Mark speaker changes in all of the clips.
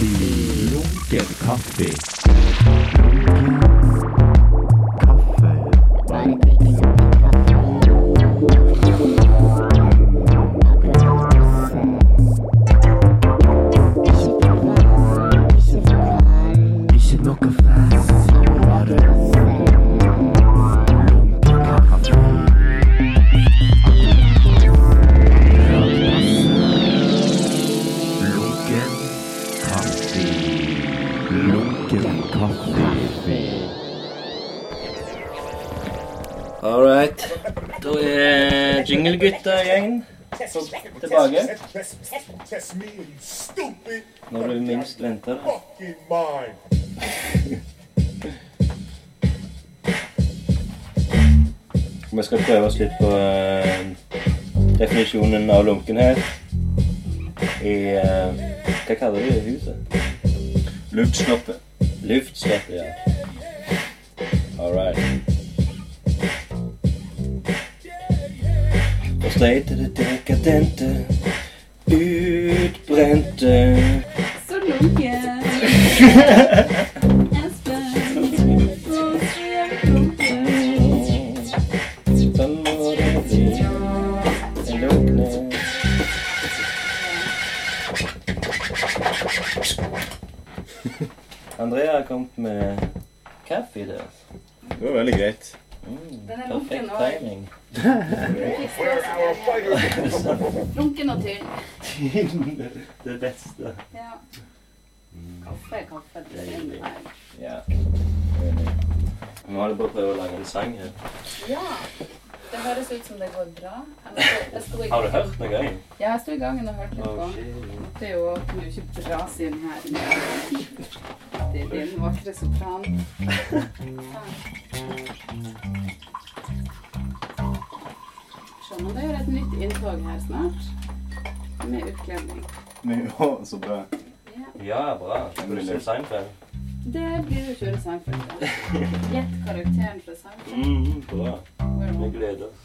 Speaker 1: Lunken kaffe. Kaffe. Ikke noe fast. Bare lunken kaffe. Lunken kaffe. Lunken kaffe.
Speaker 2: All right. Da er jinglegutta-gjengen tilbake.
Speaker 3: Test, test me, you stupid
Speaker 2: Når du minst venter det.
Speaker 3: fucking mind.
Speaker 2: Vi skal prøve oss litt på eh, definisjonen av lunkenhet i eh, Hva kaller de det huset?
Speaker 4: Luftslottet.
Speaker 2: Luftslett, ja. All right. Og streite det dekadente, utbrente
Speaker 5: Så lunken. Espen. Rosie lunken.
Speaker 2: Sånn må det bli. Den lunkne Andrea har kommet med kaffe i dag. Mm,
Speaker 4: Det var veldig greit.
Speaker 5: Den er lunken
Speaker 2: Perfekt
Speaker 5: og,
Speaker 2: timing.
Speaker 3: Where our fighters
Speaker 5: lunken og tynn.
Speaker 2: det beste.
Speaker 5: Ja. Kaffe, kaffe. det er en vei.
Speaker 2: Ja. enig. Nå har jeg bare prøvd å lage en sang her.
Speaker 5: Ja. Det høres ut som det går bra. Jeg sto- jeg sto i-
Speaker 2: Har du hørt noe? gang?
Speaker 5: Ja, jeg sto i gangen og hørte litt på.
Speaker 2: Å, shit.
Speaker 5: Det er jo kunne jo ikke bra siden her. Det er din vakre sopran. Skjønner du, det gjør et nytt inntog her snart. Med utkledning.
Speaker 4: Men jo, så bra.
Speaker 5: Ja.
Speaker 2: Ja, bra. Vil du se Seinfeld?
Speaker 5: Det blir jo kjøre Seinfeld. da. Gjett karakteren fra Seinfeld.
Speaker 2: Mm, bra.
Speaker 5: Hvor
Speaker 2: Vi
Speaker 5: er hun?
Speaker 2: gleder oss.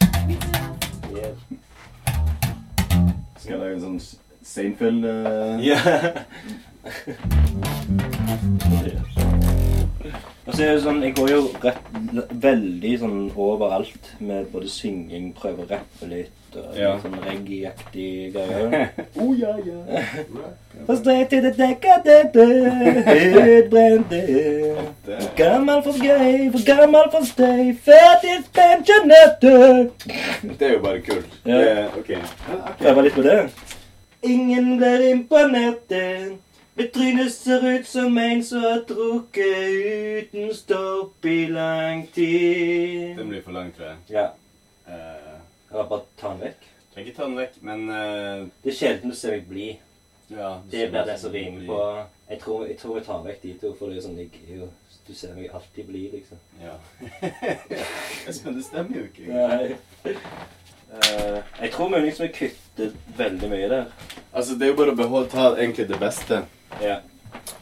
Speaker 2: Yes.
Speaker 4: Skal jeg lage en sånn S- Seinfeld eh,
Speaker 2: Ja. Og så er det sånn, Jeg går jo rett, veldig sånn overalt med både synging, prøve å rappe litt og
Speaker 4: Ja.
Speaker 2: litt sånn reggae-aktig greier.
Speaker 4: Oh, ja, ja.
Speaker 2: For streit til det dekadente, utbrente.
Speaker 4: Det
Speaker 2: For gammel, for gøy, for gammel, for støy. Ferdigspensjonerte.
Speaker 4: det er jo bare kult.
Speaker 2: Ja.
Speaker 4: Det er- ok.
Speaker 2: Prøve litt på det. Ingen blir imponert. Mitt tryne ser ut som en som har drukket uten stopp i lang tid.
Speaker 4: Den blir for lang, tror jeg.
Speaker 2: Ja.
Speaker 4: Eh,
Speaker 2: Eller bare ta den vekk.
Speaker 4: Trenger ikke ta den vekk, men eh,
Speaker 2: Det er sjelden du ser meg bli.
Speaker 4: ja,
Speaker 2: Det blir det som rimer på Jeg tror jeg, tror jeg tar vekk de to, for det er sånn jeg, er jo- Du ser meg alltid bli, liksom.
Speaker 4: Ja. Espen, det stemmer jo ikke.
Speaker 2: Nei.
Speaker 4: Eh,
Speaker 2: Jeg tror vi liksom kutter veldig mye der.
Speaker 4: altså, det er jo bare å beholde, ta egentlig det beste.
Speaker 2: Ja.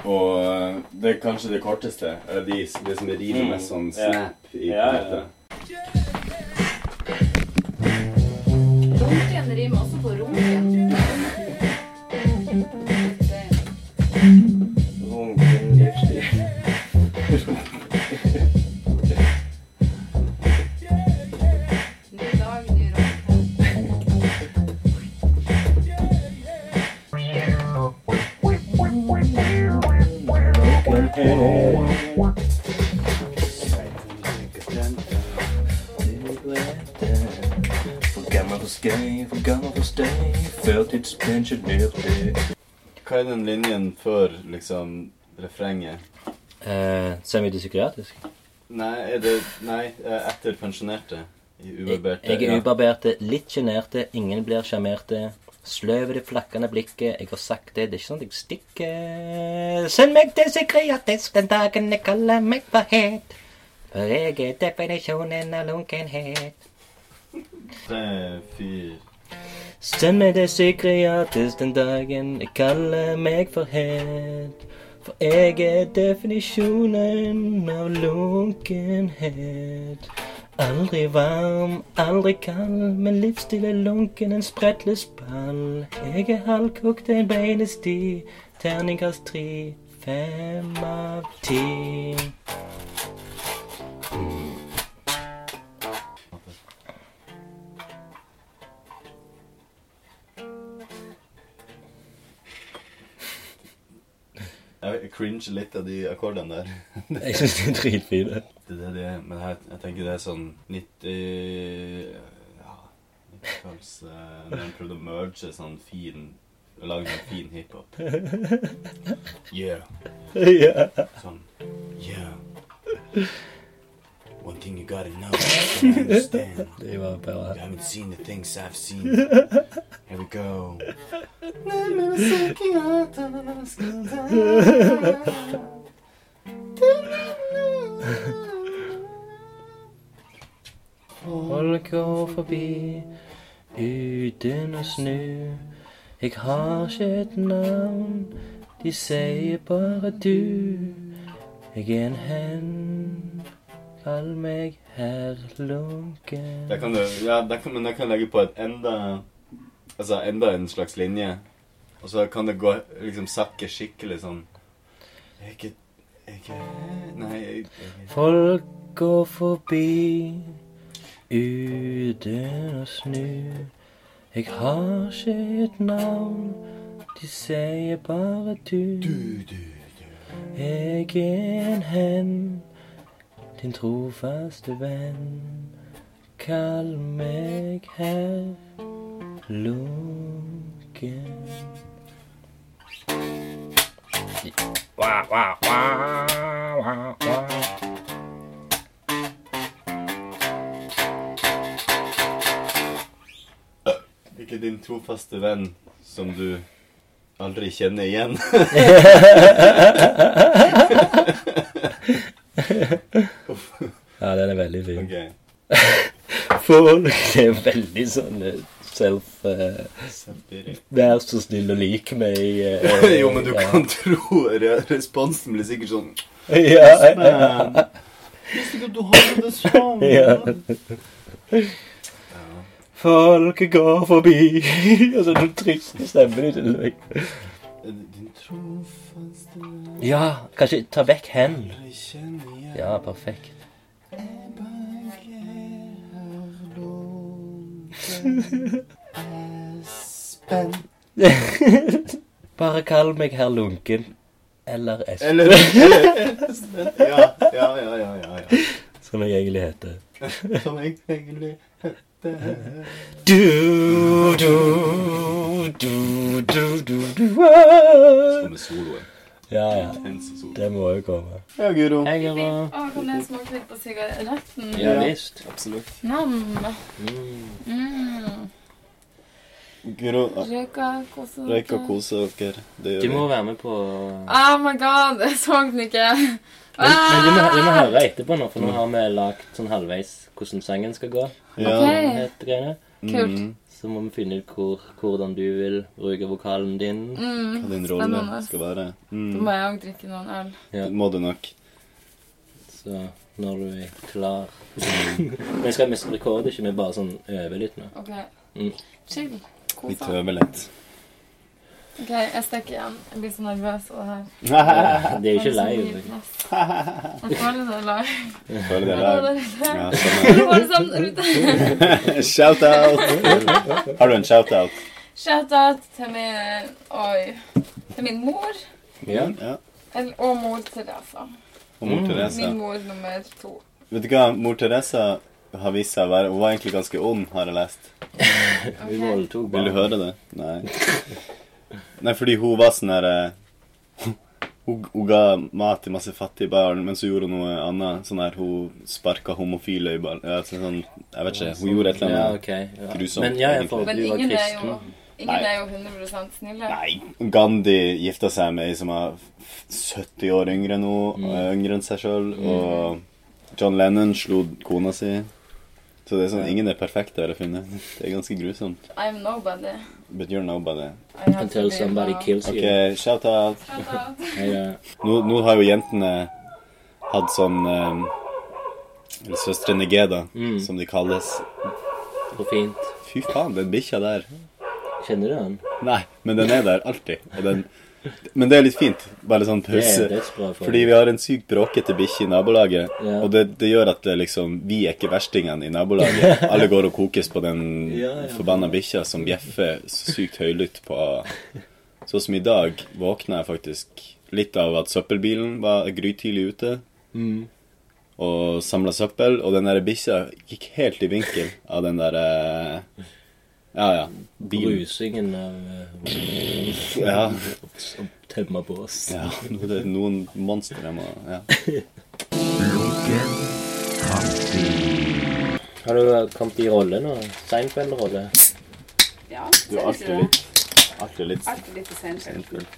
Speaker 4: Og eh, det er kanskje det korteste. Eller de, det som rimer
Speaker 2: Mm,
Speaker 4: mest sånn
Speaker 2: ja.
Speaker 4: snap i
Speaker 2: Ja, ja, ja.
Speaker 4: produktet.
Speaker 5: Runken rimer også på runken. Det-
Speaker 2: Runken livsstil.
Speaker 5: Ny dag, ny runken.
Speaker 2: For gammel for skøy, for gammel for støy, førtidspensjonerte.
Speaker 4: Hva er den linjen før liksom refrenget?
Speaker 2: Eh, Semidipsykiatrisk.
Speaker 4: Nei, er det Nei, eh, etter pensjonerte. I ubarberte.
Speaker 2: Jeg er
Speaker 4: ja.
Speaker 2: ubarberte, litt sjenerte, ingen blir sjarmerte. Sløv i det flakkende blikket, jeg har sagt det, det er ikke sånn at jeg stikker. Send meg til psykiatrisk den dagen jeg kaller meg for het. For jeg er definisjonen av lunkenhet.
Speaker 4: Tre, fire
Speaker 2: Send meg til psykiatrisk den dagen jeg kaller meg for het. For jeg er definisjonen av lunkenhet. Aldri varm, aldri kald, men livsstil er lunken, en spredtløsball. Jeg er halvkokt, en beinesti, terningkast tre, fem av ti.
Speaker 4: Jeg cringer litt av de akkordene der.
Speaker 2: Jeg syns de er dritfine.
Speaker 4: Det er det det er, men jeg, jeg tenker det er sånn 90 Ja, 90-talls eh, Når en prøvde å merge sånn fin Lage sånn fin hiphop. Yeah.
Speaker 2: Ja.
Speaker 4: Sånn Yeah. One thing you gotta know, you gotta understand.
Speaker 2: De var
Speaker 4: You
Speaker 2: bare
Speaker 4: haven't seen the things I've seen. Here we go.
Speaker 2: Folk går forbi uten å snu. Jeg har ikke et navn, de sier bare du. Jeg er en hen, kall meg herr Lunken.
Speaker 4: Der kan du, ja, der kan, men der kan jeg legge på et enda Altså enda en slags linje. Og så kan det gå liksom sakke skikkelig sånn Jeg er ikke Jeg er ikke Nei, jeg, jeg
Speaker 2: Folk går forbi uten å snu. Jeg har ikke et navn, de sier bare du.
Speaker 4: du, du, du.
Speaker 2: Jeg er en hen, din trofaste venn. Kall meg herr Lunken. Wow, wow, wow, wow, wow.
Speaker 4: Ikke din trofaste venn som du aldri kjenner igjen. Uff.
Speaker 2: Ja, den er veldig fin.
Speaker 4: ok.
Speaker 2: Folk er veldig sånn eh, self eh,
Speaker 4: Samtidig.
Speaker 2: Vær så snill og lik meg. eh,
Speaker 4: jo, men du
Speaker 2: ja.
Speaker 4: kan tro re responsen blir sikkert sånn
Speaker 2: ja, ja,
Speaker 4: Visste ikke at du hadde det sånn.
Speaker 2: Ja. Folk går forbi Og så den triste stemmen din. eller?
Speaker 4: Din trofaste venn
Speaker 2: Ja, kanskje ta vekk hen.
Speaker 4: Jeg kjenner igjen
Speaker 2: Ja, perfekt.
Speaker 4: Jeg bare er Espen
Speaker 2: Bare kall meg herr Lunken. Eller Espen,
Speaker 4: Eller Espen. Ja, ja, ja, ja, ja, ja.
Speaker 2: som jeg egentlig heter.
Speaker 4: Som jeg egentlig heter
Speaker 2: Du, du, du, du, du, du. ah.
Speaker 4: Med soloen.
Speaker 2: Ja, ja.
Speaker 4: Intense solo.
Speaker 2: Det må jo komme.
Speaker 4: Ja, Guro.
Speaker 2: Jeg er
Speaker 5: Å, kan jeg smake litt på sigaretten?
Speaker 2: Ja visst.
Speaker 4: Absolutt.
Speaker 5: Nam. Mm.
Speaker 4: Guro,
Speaker 5: Røyka, kose
Speaker 4: røyk og kose dere. Det
Speaker 2: Du
Speaker 4: gjør
Speaker 2: må
Speaker 4: vi.
Speaker 2: være med på
Speaker 5: Oh my god, jeg så den ikke. Ah,
Speaker 2: Men, men du, må, du må høre
Speaker 6: Ah!
Speaker 2: etterpå nå, for nå har vi lagt sånn halvveis hvordan sangen skal gå.
Speaker 4: Ja.
Speaker 6: Eh.
Speaker 5: Ok.
Speaker 2: Helt greiene.
Speaker 5: Kult.
Speaker 4: Mm.
Speaker 2: Så må vi finne ut hvor, hvordan du vil bruke vokalen din.
Speaker 5: Mm.
Speaker 4: Hva din rolle
Speaker 5: Spennende.
Speaker 4: skal være.
Speaker 5: Da
Speaker 4: Mm.
Speaker 5: må jeg òg drikke noen øl.
Speaker 2: Ja.
Speaker 4: Det må du nok.
Speaker 2: Så når du er klar Vi skal vi skal rekorde ikke, vi bare sånn øver litt nå.
Speaker 5: Ok.
Speaker 2: Mm.
Speaker 5: Chill.
Speaker 4: Vi
Speaker 5: Kose.
Speaker 4: tøver litt.
Speaker 5: Ok, jeg stikker igjen. Jeg blir så nervøs av det her.
Speaker 6: Ah.
Speaker 2: Det er jo ikke live.
Speaker 5: live. Jeg føler det er live.
Speaker 4: Føler
Speaker 5: Jeg føler
Speaker 4: det er
Speaker 5: det er live.
Speaker 4: Ja,
Speaker 5: Jeg
Speaker 4: sånn
Speaker 5: føler det sammen der ute.
Speaker 4: er. Shout-out! Har du en shout-out?
Speaker 5: Shout-out til min Oi. Til min mor.
Speaker 2: Ja.
Speaker 4: Ja.
Speaker 5: Eller, og mor Teresa.
Speaker 4: Og mor
Speaker 2: Mm.
Speaker 4: Teresa.
Speaker 5: Min mor nummer to.
Speaker 4: Vet du hva, mor Teresa har vist seg å være Hun var egentlig ganske ond, har jeg lest.
Speaker 2: Vi
Speaker 5: Ok.
Speaker 2: voldtok
Speaker 4: Vil
Speaker 2: barn.
Speaker 4: du høre det? Nei. Nei, fordi hun var sånn derre hun, hun ga mat til masse fattige barn, men så gjorde hun noe annet. Sånn her, Hun sparka homofile i barn ja, altså, sånn, Jeg vet ikke. Hun gjorde et eller
Speaker 2: Ja,
Speaker 4: annet.
Speaker 2: ok. Ja.
Speaker 4: grusomt,
Speaker 2: Men ja, jeg
Speaker 4: egentlig.
Speaker 2: for
Speaker 5: Men
Speaker 2: du var
Speaker 5: ingen er jo,
Speaker 2: kristen.
Speaker 5: ingen
Speaker 4: Nei.
Speaker 5: er jo 100 snille.
Speaker 4: Nei, Gandhi gifta seg med ei som var 70 år yngre nå,
Speaker 2: Mm.
Speaker 4: og yngre enn seg sjøl, og John Lennon slo kona si. Så det er sånn,
Speaker 2: Ja.
Speaker 4: ingen er perfekte, har jeg funnet. Det er ganske grusomt.
Speaker 5: I'm nobody.
Speaker 4: But you're nobody.
Speaker 5: I have to
Speaker 2: Until
Speaker 5: be
Speaker 2: somebody
Speaker 5: loved.
Speaker 2: kills
Speaker 4: Ok,
Speaker 2: you.
Speaker 4: shout-out.
Speaker 5: Shout-out.
Speaker 2: Hei, da.
Speaker 4: Nå, nå har jo jentene hatt sånn eh, Eller Søstrene Geda,
Speaker 7: Mm.
Speaker 4: som de kalles.
Speaker 7: Så fint.
Speaker 4: Fy faen, den bikkja der.
Speaker 7: Kjenner du han?
Speaker 4: Nei, men den er der alltid. Og den, men det er litt fint. Bare sånn
Speaker 7: Det er
Speaker 4: pause.
Speaker 7: dødsbra for
Speaker 4: Fordi vi har en sykt bråkete bikkje i nabolaget,
Speaker 7: Ja.
Speaker 4: og det, det gjør at det liksom, vi er ikke verstingene i nabolaget. Alle går og kokes på den
Speaker 7: Ja, ja.
Speaker 4: forbanna bikkja som bjeffer så sykt høylytt på Sånn som i dag våkna jeg faktisk litt av at søppelbilen var grytidlig ute
Speaker 7: Mm.
Speaker 4: og samla søppel, og den der bikkja gikk helt i vinkel av den der eh, Ja, ja. Bilen.
Speaker 7: Brusingen av eh,
Speaker 4: Ja.
Speaker 7: uh, tømma bås.
Speaker 4: ja. Det er noen monstre jeg må ja.
Speaker 1: Lunken kaffe.
Speaker 7: Har du eh, kommet i rolle nå? Seinfeld-rolle?
Speaker 5: Ja,
Speaker 4: Du er
Speaker 5: ser ikke det?
Speaker 4: alltid litt Alltid litt
Speaker 5: Alltid litt sent.
Speaker 4: kult.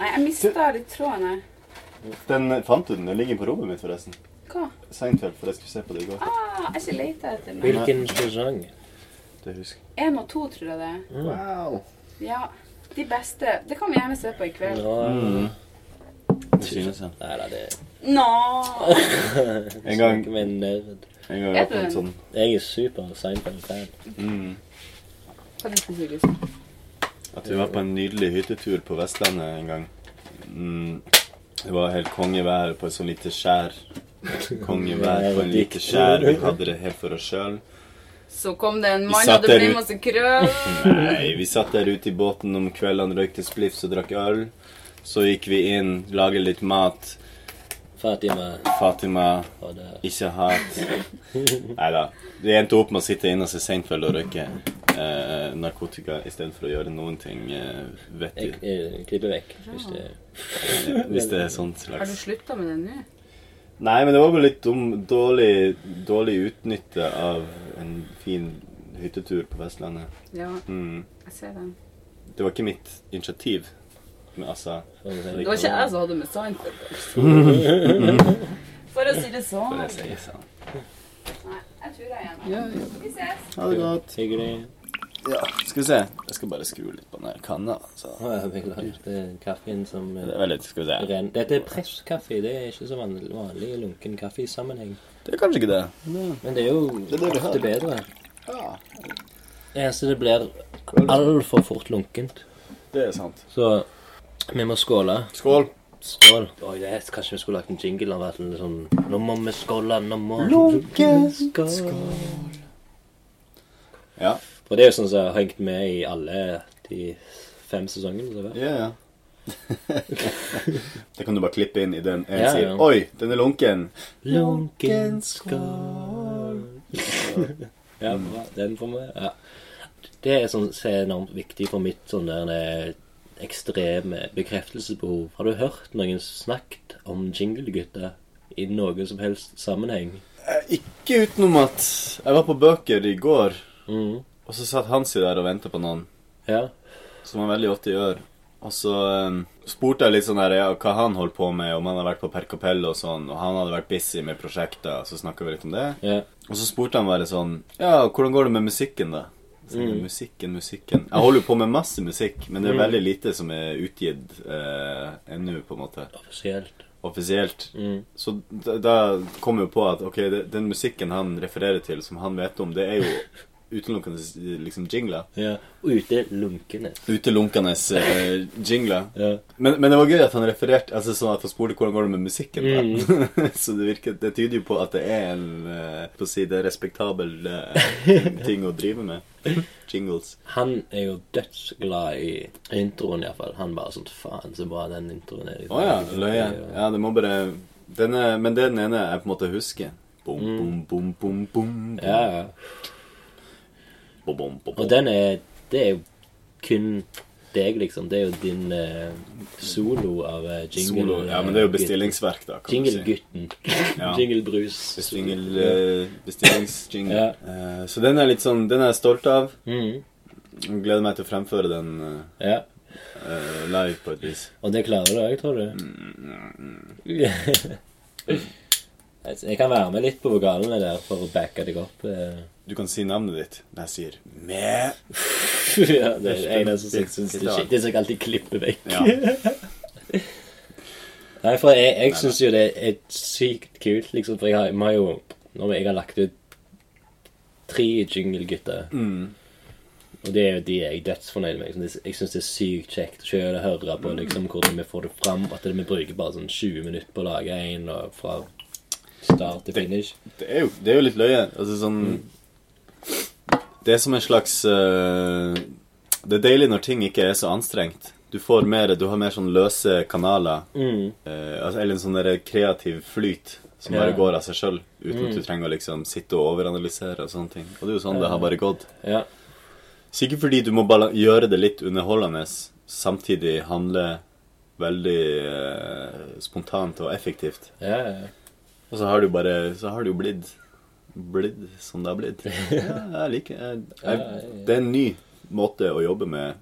Speaker 5: Nei, jeg mista litt trådene.
Speaker 4: Den fant du den? Den ligger på rommet mitt, forresten.
Speaker 5: Hva?
Speaker 4: Seinfeld, for jeg skulle se på det i går.
Speaker 5: Ah, jeg har ikke leta etter noe.
Speaker 7: Hvilken sesong?
Speaker 4: Det husker jeg.
Speaker 5: Én og to, tror jeg det. er.
Speaker 4: Mm. Wow.
Speaker 5: Ja. De beste. Det kan vi gjerne se på i kveld.
Speaker 7: Nå
Speaker 4: Det synes jeg.
Speaker 7: Nei da, det
Speaker 5: Nå!
Speaker 4: En gang,
Speaker 7: Ikke med en nerd.
Speaker 4: en gang jeg åpnet en sånn
Speaker 7: Jeg er super Seinfeld-fan.
Speaker 4: mm,
Speaker 5: Hva er det for lys?
Speaker 4: At vi var på en nydelig hyttetur på Vestlandet en gang. Mm, det var helt kongevær på et sånn lite skjær. Kongevær på en lite skjær. Vi hadde det helt for oss sjøl.
Speaker 5: Så kom det en
Speaker 4: Vi
Speaker 5: mann,
Speaker 4: satt
Speaker 5: og det
Speaker 4: der
Speaker 5: ble
Speaker 4: ute.
Speaker 5: masse krøll.
Speaker 4: Nei, vi satt der ute i båten om kveldene, røykte spliffs og drakk øl. Så gikk vi inn, laget litt mat.
Speaker 7: Fatima
Speaker 4: Fatima
Speaker 7: og det
Speaker 4: Ikke hat. Nei da. Vi endte opp med å sitte inne og se Seinfeld og røyke eh, narkotika istedenfor å gjøre noen ting eh,
Speaker 7: Jeg,
Speaker 4: vettig.
Speaker 7: jeg klipper vekk hvis det
Speaker 4: Hvis det er sånn
Speaker 5: Har du
Speaker 4: slags
Speaker 5: slutta med det nå?
Speaker 4: Nei, men det var vel litt dum, dårlig, dårlig utnytte av en fin hyttetur på Vestlandet.
Speaker 5: Ja,
Speaker 4: Mm.
Speaker 5: jeg ser den.
Speaker 4: Det var ikke mitt initiativ. Men altså
Speaker 5: Det var ikke jeg som hadde med Seinfeld. For å si det sånn.
Speaker 4: Bare si sånn.
Speaker 5: Nei, jeg tror jeg er
Speaker 4: Ja,
Speaker 5: med.
Speaker 4: ja.
Speaker 5: Vi ses.
Speaker 4: Ha det godt.
Speaker 7: Hyggelig.
Speaker 4: Ja, skal vi se. Jeg skal bare skru litt på den her kanna. Så.
Speaker 7: Å, jeg beklager. Det er kaffen som eh,
Speaker 4: Det er veldig, skal vi se.
Speaker 7: renner. Dette er presskaffe. Det er ikke så vanlig, vanlig lunken kaffe i sammenheng.
Speaker 4: Det er kanskje ikke det.
Speaker 7: Men det er jo
Speaker 4: Det er det vi har.
Speaker 7: ofte bedre.
Speaker 4: Ja,
Speaker 7: Eneste det blir altfor fort lunkent.
Speaker 4: det er sant.
Speaker 7: Så vi må skåle.
Speaker 4: Skål.
Speaker 7: Skål. Oi, det er, kanskje vi skulle lagt en jingle av at den er sånn Nå må vi skåle, nå må Skål.
Speaker 4: Ja.
Speaker 7: For det er jo sånn som har hengt med i alle de fem sesongene. som har vært.
Speaker 4: Ja, ja. det kan du bare klippe inn i den en
Speaker 7: Ja,
Speaker 4: sier
Speaker 7: ja.
Speaker 4: Oi, den er lunken.
Speaker 7: Lunken skål. ja, bra. Den får vi. Ja. Det er sånn som er enormt viktig for mitt sånn der eh, ekstreme bekreftelsesbehov. Har du hørt noen snakket om jinglegutter i noen som helst sammenheng?
Speaker 4: Eh, Ikke utenom at jeg var på bøker i går,
Speaker 7: Mhm.
Speaker 4: og så satt Hansi der og venta på noen,
Speaker 7: Ja.
Speaker 4: som han veldig ofte gjør. Og så eh, spurte jeg litt sånn der, ja, hva han holdt på med, om han hadde vært på Per Capello og sånn, og han hadde vært busy med prosjekter, så snakka vi litt om det.
Speaker 7: ja.
Speaker 4: Og så spurte han bare sånn Ja, hvordan går det med musikken, da? Så jeg, Musikken, musikken Jeg holder jo på med masse musikk, men det er veldig lite som er utgitt eh, ennå, på en måte.
Speaker 7: Offisielt.
Speaker 4: Offisielt.
Speaker 7: Mm.
Speaker 4: Så da, da kom jeg jo på at ok, det, den musikken han refererer til, som han vet om, det er jo utelukkende liksom jingler.
Speaker 7: Ja. Ute lunkene.
Speaker 4: Utelukkende eh, jingler.
Speaker 7: Ja.
Speaker 4: Men, men det var gøy at han refererte altså sånn at han spurte hvordan går det med musikken. da.
Speaker 7: Mm.
Speaker 4: så det, virker, det tyder jo på at det er en eh, på å si det respektabel eh, ting å drive med. Jingles.
Speaker 7: Han er jo dødsglad i introen, iallfall. Han bare sånn Faen, så bra den introen er.
Speaker 4: Å ja. Løye. Ja, det må bare den er, Men det er den ene jeg på en måte husker. Bom, bom, bom, bom, bom, bom,
Speaker 7: Mm. ja, ja.
Speaker 4: bom, bom, bom,
Speaker 7: Og
Speaker 4: bom.
Speaker 7: den er Det er jo kun deg, liksom. Det er jo din eh, solo av eh, jingle...
Speaker 4: Solo. Ja, men det er jo bestillingsverk, da. kan du si.
Speaker 7: Jinglegutten.
Speaker 4: Ja.
Speaker 7: Jinglebrus.
Speaker 4: Bestingel, eh, bestillingsjingle.
Speaker 7: Ja.
Speaker 4: Eh, så den er litt sånn Den er jeg stolt av.
Speaker 7: Mhm.
Speaker 4: Gleder meg til å fremføre den eh,
Speaker 7: Ja.
Speaker 4: eh, live på et vis.
Speaker 7: Og det klarer du òg, tror du?
Speaker 4: Mm,
Speaker 7: Altså, Jeg kan være med litt på vokalene der for å backe deg opp. eh.
Speaker 4: Du kan si navnet ditt når jeg sier mæ.
Speaker 7: ja, det er en som syns syns det er skitt. Det er som jeg alltid klipper vekk.
Speaker 4: Ja.
Speaker 7: Nei, for jeg, jeg syns jo det er sykt kult, liksom, for jeg har, vi har jo Når jeg har lagt ut tre jinglegutter.
Speaker 4: Mm.
Speaker 7: Og det er jo de jeg er dødsfornøyd med. Liksom. Det- Jeg syns det er sykt kjekt å kjøre og høre på
Speaker 4: Mm.
Speaker 7: liksom, hvordan vi får det fram. At det- vi bruker bare sånn 20 minutter på å lage en, og fra start til finish.
Speaker 4: Det er jo, det er jo litt løye. Altså sånn Det er som en slags eh, Det er deilig når ting ikke er så anstrengt. Du får mer, du har mer sånn løse kanaler.
Speaker 7: Mm.
Speaker 4: eh, altså, eller en sånn der kreativ flyt som bare
Speaker 7: Ja. Mm.
Speaker 4: går av seg sjøl. Uten at du trenger å liksom sitte og overanalysere og sånne ting. Og det er jo sånn det har bare gått.
Speaker 7: Ja.
Speaker 4: Sikkert fordi du må bala- gjøre det litt underholdende, samtidig handle veldig eh, spontant og effektivt.
Speaker 7: Ja, ja, ja.
Speaker 4: Og så har det jo bare Så har det jo blitt Blitt som det har blitt. Ja, jeg liker jeg, jeg, Det er en ny måte å jobbe med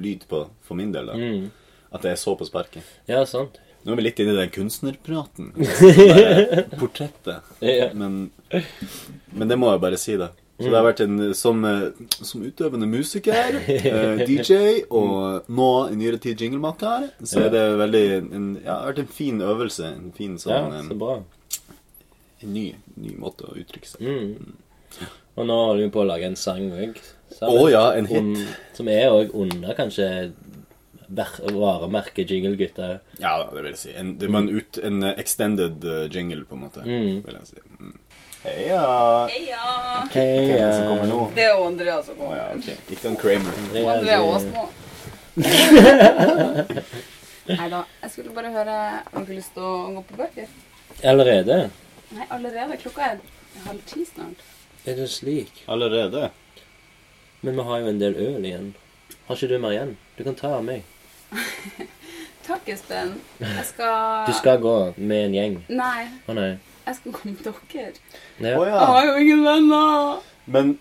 Speaker 4: lyd på, for min del. da
Speaker 7: Mm.
Speaker 4: At det er så på sparket.
Speaker 7: ja sant.
Speaker 4: Nå er vi litt inne i den kunstnerpraten. Bare Portrettet.
Speaker 7: Ja.
Speaker 4: Men, men det må jeg bare si, da. Så det har vært en Som, eh, som utøvende musiker, eh, DJ og nå i nyere tid jinglemaker, så er det veldig en, ja, det har vært en fin øvelse. En fin sånn
Speaker 7: Ja,
Speaker 4: em,
Speaker 7: så bra.
Speaker 4: en ny, ny måte å uttrykke seg
Speaker 7: Mm. Og nå holder vi på å lage en sang òg.
Speaker 4: Å ja, en hit.
Speaker 7: Som er òg under kanskje ver- varemerket Jinglegutta.
Speaker 4: Ja, det vil jeg si. En, det var en, ut, en eh, extended eh, jingle, på en måte. Vil jeg si. Mm. Heia!
Speaker 5: Ja.
Speaker 4: Hvem er det som kommer nå?
Speaker 5: Det er jo Andrea som
Speaker 4: Å
Speaker 5: kommer.
Speaker 4: ja, ok. Ikke han Kramer.
Speaker 5: Og Andrea Aas nå. Nei da. Jeg skulle bare høre om du har lyst til å gå på bøker.
Speaker 7: Allerede?
Speaker 5: Nei, allerede. Klokka er halv ti snart.
Speaker 7: Er det slik?
Speaker 4: Allerede?
Speaker 7: Men vi har jo en del øl igjen. Har ikke du mer igjen? Du kan ta av meg.
Speaker 5: Takk, Espen. Jeg skal
Speaker 7: Du skal gå med en gjeng.
Speaker 5: Nei,
Speaker 7: Å nei.
Speaker 5: jeg skal gå med dere.
Speaker 7: Ja.
Speaker 4: Å
Speaker 5: Jeg
Speaker 4: ja.
Speaker 5: har jo ingen venner.
Speaker 4: Men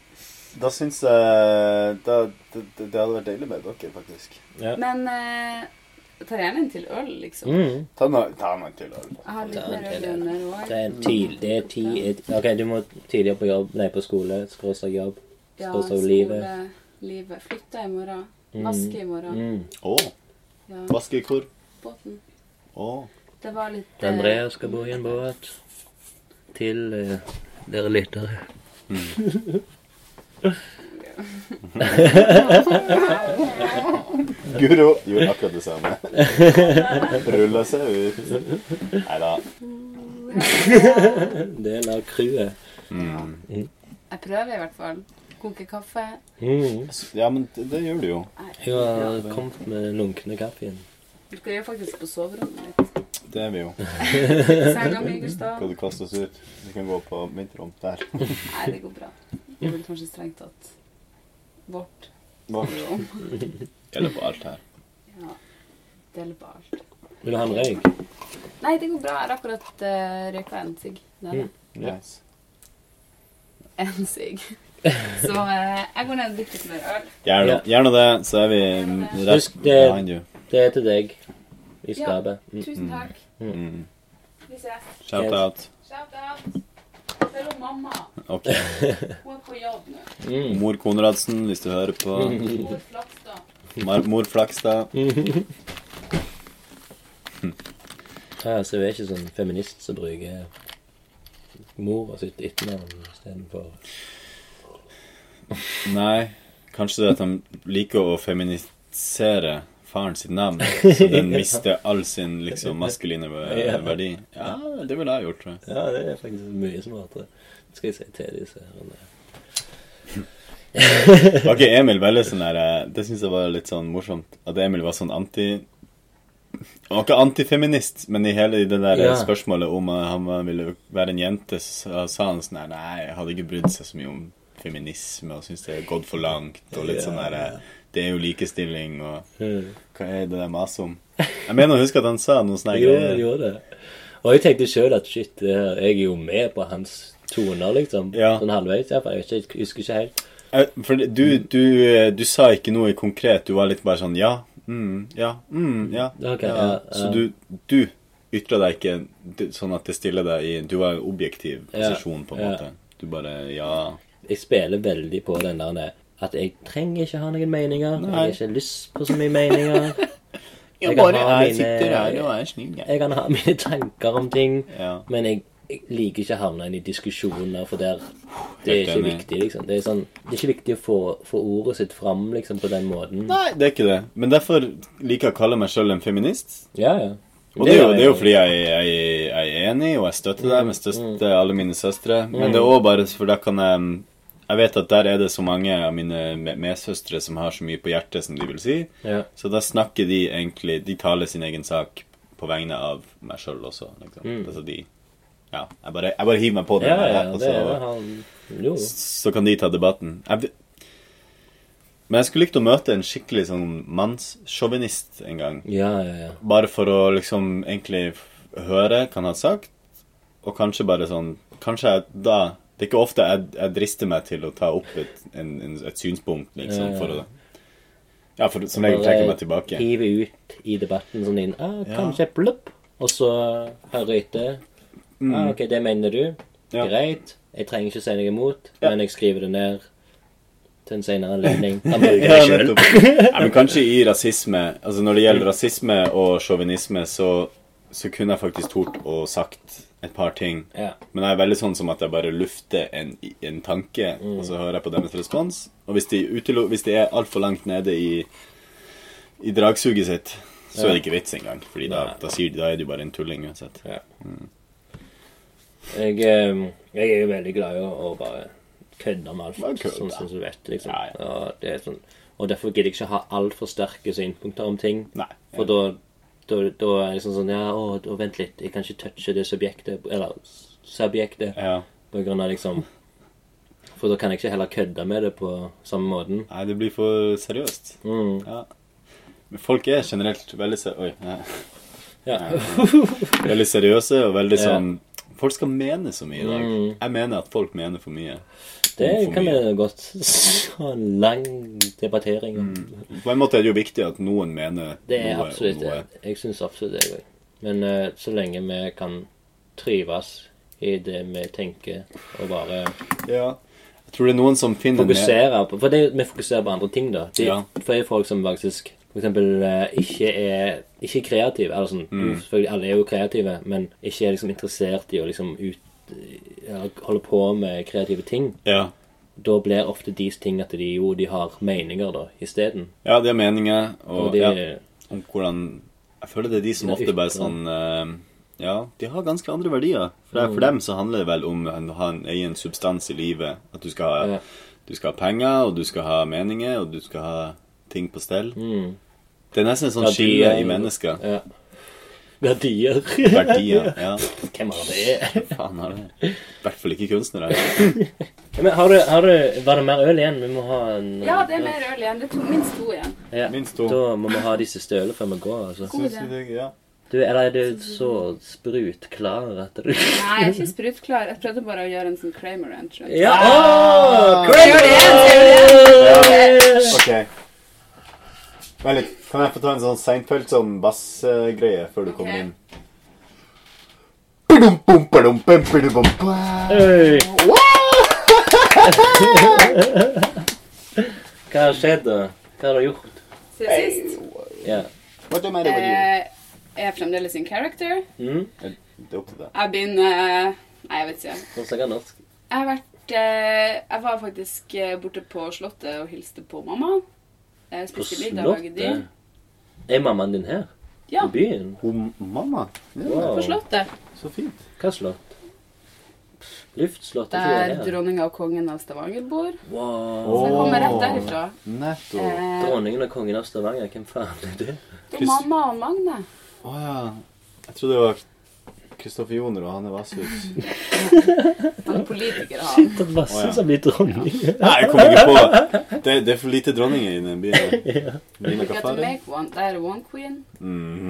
Speaker 4: da syns jeg da, det, det det hadde vært deilig med dere, faktisk.
Speaker 5: Men eh, jeg tar gjerne en til øl, liksom.
Speaker 7: Mm.
Speaker 4: Ta nå- ta nå en til. da.
Speaker 5: Jeg har litt
Speaker 7: Ta en
Speaker 5: mer øl
Speaker 7: til øl.
Speaker 5: enn dere
Speaker 7: Det er tid, det er tid et- Ok, du må tidligere på jobb. Nei, på skole. Skråstrek jobb.
Speaker 5: Ja,
Speaker 7: Skråstrek livet.
Speaker 5: skole, livet. Flytte i morgen. Vaske i morgen.
Speaker 7: Mm.
Speaker 4: Å,
Speaker 5: Ja,
Speaker 4: vaskekor.
Speaker 5: båten.
Speaker 4: Å.
Speaker 5: Det var litt eh,
Speaker 7: Andrea skal bo i en båt. Til eh, dere lyttere.
Speaker 4: Guro gjorde akkurat det samme. Rulla seg ut. Nei da.
Speaker 7: Del av crewet.
Speaker 5: Jeg prøver i hvert fall. Koke kaffe.
Speaker 7: Mm.
Speaker 4: Ja, men det, det gjør du jo.
Speaker 7: Hun har kommet med den lunkne kaffen.
Speaker 5: Vi skal gjøre faktisk på soverommet litt.
Speaker 4: Det er vi jo.
Speaker 5: Senga mi, Gustav.
Speaker 4: Skal du kaste oss ut? Vi kan gå på mitt rom der.
Speaker 5: Nei, det går bra. Det er vel kanskje strengt tatt vårt rom.
Speaker 4: Gjelder på alt her.
Speaker 5: Ja. Deler på alt.
Speaker 7: Vil du ha en røyk?
Speaker 5: Nei, det går bra. Jeg har akkurat eh, røyka en sigg. Det
Speaker 7: Mm.
Speaker 5: er det.
Speaker 4: Nice.
Speaker 5: En sigg. Så eh, jeg går ned og drikker litt mer øl.
Speaker 4: Gjerne,
Speaker 7: Ja.
Speaker 4: gjerne det, så er vi mm, rett
Speaker 7: Husk det-
Speaker 4: behind you.
Speaker 7: Det er til deg. I
Speaker 5: Ja.
Speaker 7: skapet. Mm.
Speaker 5: Tusen takk.
Speaker 4: Mm.
Speaker 5: Vi ses.
Speaker 4: Shout out.
Speaker 5: Shout out. Følg opp mamma.
Speaker 4: Ok.
Speaker 5: Hun er på jobb nå.
Speaker 7: Mm.
Speaker 4: Mor Konradsen, hvis du hører på.
Speaker 5: Hun er flaks, da.
Speaker 4: Mar mor Flakstad.
Speaker 7: Mm. Ja, så hun er ikke sånn feminist som bruker mora sitt etternavn istedenfor
Speaker 4: Nei, kanskje det er at de liker å feminisere faren sitt navn, så den mister all sin liksom maskuline
Speaker 7: Ja.
Speaker 4: ver- verdi. Ja, det ville jeg gjort, tror jeg.
Speaker 7: Ja, det er faktisk mye smartere. Det skal jeg si til disse herrene.
Speaker 4: Var ikke Emil veldig sånn der eh, Det syns jeg var litt sånn morsomt. At Emil var sånn anti Han var ikke antifeminist, men i hele det der eh,
Speaker 7: Ja.
Speaker 4: spørsmålet om eh, han var- ville være en jente, så sa han sånn her Nei, jeg hadde ikke brydd seg så mye om feminisme og syntes det er gått for langt, og litt sånn der eh, Det er jo likestilling, og
Speaker 7: Mm.
Speaker 4: Hva er det der maset om? Jeg mener å huske at han sa noe sånne
Speaker 7: Jo, hun
Speaker 4: greier.
Speaker 7: gjorde det. Og jeg tenkte sjøl at shit, det her, jeg er jo med på hans toner, liksom.
Speaker 4: Ja.
Speaker 7: Sånn halvveis. Jeg, jeg, vet ikke, jeg husker ikke helt.
Speaker 4: Eh, For det- du,
Speaker 7: Mm.
Speaker 4: du, eh, du sa ikke noe konkret, du var litt bare sånn ja, mm, ja, mm, ja.
Speaker 7: Ok,
Speaker 4: ja.
Speaker 7: ja,
Speaker 4: Så
Speaker 7: ja.
Speaker 4: du, du ytra deg ikke d- sånn at det stiller deg i Du var i en objektiv
Speaker 7: Ja,
Speaker 4: posisjon, på en
Speaker 7: ja.
Speaker 4: måte. Du bare ja.
Speaker 7: Jeg spiller veldig på den der at jeg trenger ikke ha noen meninger. Jeg
Speaker 4: Nei.
Speaker 7: har ikke lyst på så mye meninger. Jeg, kan ha mine-
Speaker 4: er snill,
Speaker 7: jeg kan ha mine tanker om ting,
Speaker 4: Ja.
Speaker 7: men jeg jeg liker ikke å havne inn i diskusjoner, for der Det er
Speaker 4: Helt
Speaker 7: ikke
Speaker 4: enig.
Speaker 7: viktig, liksom. Det er, sånn, det er ikke viktig å få, få ordet sitt fram liksom, på den måten.
Speaker 4: Nei, det er ikke det. Men derfor liker jeg å kalle meg sjøl en feminist.
Speaker 7: Ja, ja.
Speaker 4: Og det er jo,
Speaker 7: jeg-
Speaker 4: det er jo fordi jeg, jeg, jeg er enig, og jeg støtter deg, men
Speaker 7: Mm.
Speaker 4: støtter alle mine søstre. Men det er òg bare for da kan jeg Jeg vet at der er det så mange av mine me- medsøstre som har så mye på hjertet som de vil si.
Speaker 7: Ja.
Speaker 4: Så da snakker de egentlig De taler sin egen sak på vegne av meg sjøl også, liksom. Altså de Ja. Jeg bare, jeg bare hiver meg på det.
Speaker 7: Mm. Ja, ja,
Speaker 4: jeg, og
Speaker 7: det
Speaker 4: så-
Speaker 7: er jo han Jo.
Speaker 4: så kan de ta debatten. Jeg, v- men jeg skulle likt å møte en skikkelig sånn mannssjåvinist en gang.
Speaker 7: Ja, ja, ja.
Speaker 4: Bare for å liksom egentlig f- høre hva han har sagt, og kanskje bare sånn Kanskje jeg da Det er ikke ofte jeg, jeg drister meg til å ta opp et, en, en, et synspunkt, liksom,
Speaker 7: Ja, ja.
Speaker 4: for å Ja, for som regel trekker jeg meg tilbake.
Speaker 7: Hive ut i debatten sånn inn ah, Kanskje plopp, og så høre etter. Ah, OK, det mener du.
Speaker 4: Mm. Ja.
Speaker 7: Greit. Jeg trenger ikke si noe imot,
Speaker 4: Ja.
Speaker 7: men jeg skriver det ned til en senere anledning. Da bruker
Speaker 4: Ja,
Speaker 7: jeg selv.
Speaker 4: nettopp. Nei, men kanskje i rasisme Altså når det gjelder rasisme og sjåvinisme, så, så kunne jeg faktisk tort å sagt et par ting.
Speaker 7: Ja.
Speaker 4: Men jeg er veldig sånn som at jeg bare lufter en, en tanke,
Speaker 7: Mm.
Speaker 4: og så hører jeg på deres respons. Og hvis de, utelo- hvis de er altfor langt nede i, i dragsuget sitt, så er det ikke vits engang. Fordi da, da, sier de, da er de bare en tulling uansett.
Speaker 7: Ja. Jeg, eh, jeg er jo veldig glad i å, å bare kødde med alt,
Speaker 4: Bare kødde.
Speaker 7: sånn som du vet. liksom.
Speaker 4: Ja, ja.
Speaker 7: Og, det er sånn, og derfor gidder jeg ikke ha altfor sterke synpunkter om ting.
Speaker 4: Nei.
Speaker 7: For da, da, da er jeg sånn sånn Ja, å, å, vent litt, jeg kan ikke touche det subjektet Eller s- subjektet
Speaker 4: Ja.
Speaker 7: på grunn av liksom For da kan jeg ikke heller kødde med det på samme måten.
Speaker 4: Nei, det blir for seriøst.
Speaker 7: Mm.
Speaker 4: Ja. Men folk er generelt veldig se... Oi. Nei.
Speaker 7: Ja.
Speaker 4: Veldig seriøse og veldig
Speaker 7: Ja. Mm.
Speaker 4: sånn Folk skal mene så mye i dag. Jeg mener at folk mener for mye.
Speaker 7: Det
Speaker 4: for
Speaker 7: kan
Speaker 4: mye.
Speaker 7: vi godt ha en lang debattering om.
Speaker 4: På en måte er det jo viktig at noen mener
Speaker 7: Det er
Speaker 4: noe
Speaker 7: absolutt
Speaker 4: om noe.
Speaker 7: det. Jeg syns absolutt det, jeg òg. Men eh, så lenge vi kan trives i det vi tenker, og bare
Speaker 4: Ja. Jeg tror det er noen som finner
Speaker 7: fokusere på For det, er jo- vi fokuserer på andre ting, da. Det,
Speaker 4: Ja.
Speaker 7: For det er folk som faktisk for eksempel eh, ikke er ikke er kreative. Eller sånn,
Speaker 4: Mm.
Speaker 7: jo, selvfølgelig, alle er jo kreative, men ikke er liksom interessert i å liksom ut eller holde på med kreative ting.
Speaker 4: Ja.
Speaker 7: Da blir ofte deres ting at de jo de har meninger, da, isteden.
Speaker 4: ja, de har meninger og,
Speaker 7: Og de,
Speaker 4: ja, om hvordan Jeg føler det er de som
Speaker 7: Det er
Speaker 4: ofte bare
Speaker 7: ytre.
Speaker 4: sånn eh, Ja, de har ganske andre verdier. For,
Speaker 7: Mm.
Speaker 4: det- for dem så handler det vel om å ha en egen substans i livet. At du skal ha,
Speaker 7: Ja.
Speaker 4: du skal ha penger, og du skal ha meninger, og du skal ha ting på stell.
Speaker 7: Mm.
Speaker 4: Det er nesten et sånt skille i mennesker.
Speaker 7: Ja. Verdier.
Speaker 4: Verdier. Ja.
Speaker 7: Hvem har det?
Speaker 4: Faen har det. I hvert fall ikke kunstnere.
Speaker 7: Men har du, har du, var det mer øl igjen? Vi må ha en
Speaker 5: Ja, det er mer øl igjen. Det er to, minst to igjen.
Speaker 7: Ja,
Speaker 4: Minst to.
Speaker 7: Da må vi ha de siste ølene før vi går. altså.
Speaker 5: Synes du
Speaker 4: ja.
Speaker 7: Du, Eller er du så sprutklar at du
Speaker 5: Nei, jeg er ikke sprutklar. Jeg prøvde bare å gjøre en sånn Kramer Ranch. rundt.
Speaker 7: Ja! Åh,
Speaker 4: Ok. Vent litt. Kan jeg få ta en sånn Seinfeld-sånn bassgreie før du
Speaker 5: Ok.
Speaker 4: kommer inn? Ba-dum-bum, ba-dum-bum, ba-dum-bum, ba.
Speaker 7: Øy. Hva har skjedd, da? Hva har du gjort?
Speaker 5: Siden sist
Speaker 7: Ja.
Speaker 4: What am I doing here?
Speaker 5: eh, er jeg fremdeles in character.
Speaker 7: Mm?
Speaker 4: Det er opp til deg.
Speaker 5: Jeg begynner eh, Nei, jeg vet ikke.
Speaker 7: Nå snakker jeg norsk.
Speaker 5: Jeg har vært eh, Jeg var faktisk eh, borte på Slottet og hilste på mamma. Jeg
Speaker 7: På
Speaker 5: spiste middag og lagde
Speaker 7: Slottet?
Speaker 5: dyr.
Speaker 7: Er mammaen din her?
Speaker 5: Ja,
Speaker 7: I byen?
Speaker 4: Hun mamma? Ja,
Speaker 7: Wow.
Speaker 5: på Slottet.
Speaker 4: Så fint.
Speaker 7: Hva slott? Luftslott? er ikke
Speaker 5: Der
Speaker 7: det her?
Speaker 5: dronninga og kongen av Stavanger bor.
Speaker 7: Wow.
Speaker 5: Så jeg kommer rett
Speaker 4: Åh.
Speaker 5: derifra.
Speaker 4: Nettopp.
Speaker 5: Eh,
Speaker 7: Dronningen og kongen av Stavanger, hvem faen er det?
Speaker 5: det er mamma og Magne.
Speaker 4: Å ja. Jeg trodde det var Kristoffer Joner og Hanne Vasshus.
Speaker 5: Han er politiker, han.
Speaker 7: Det er masse
Speaker 4: Å, ja.
Speaker 7: som blir dronning.
Speaker 4: Nei, jeg kommer ikke på det. Det er for lite dronninger i den byen. Lina
Speaker 5: You got to
Speaker 4: Kafari.
Speaker 5: make one. Det er one queen.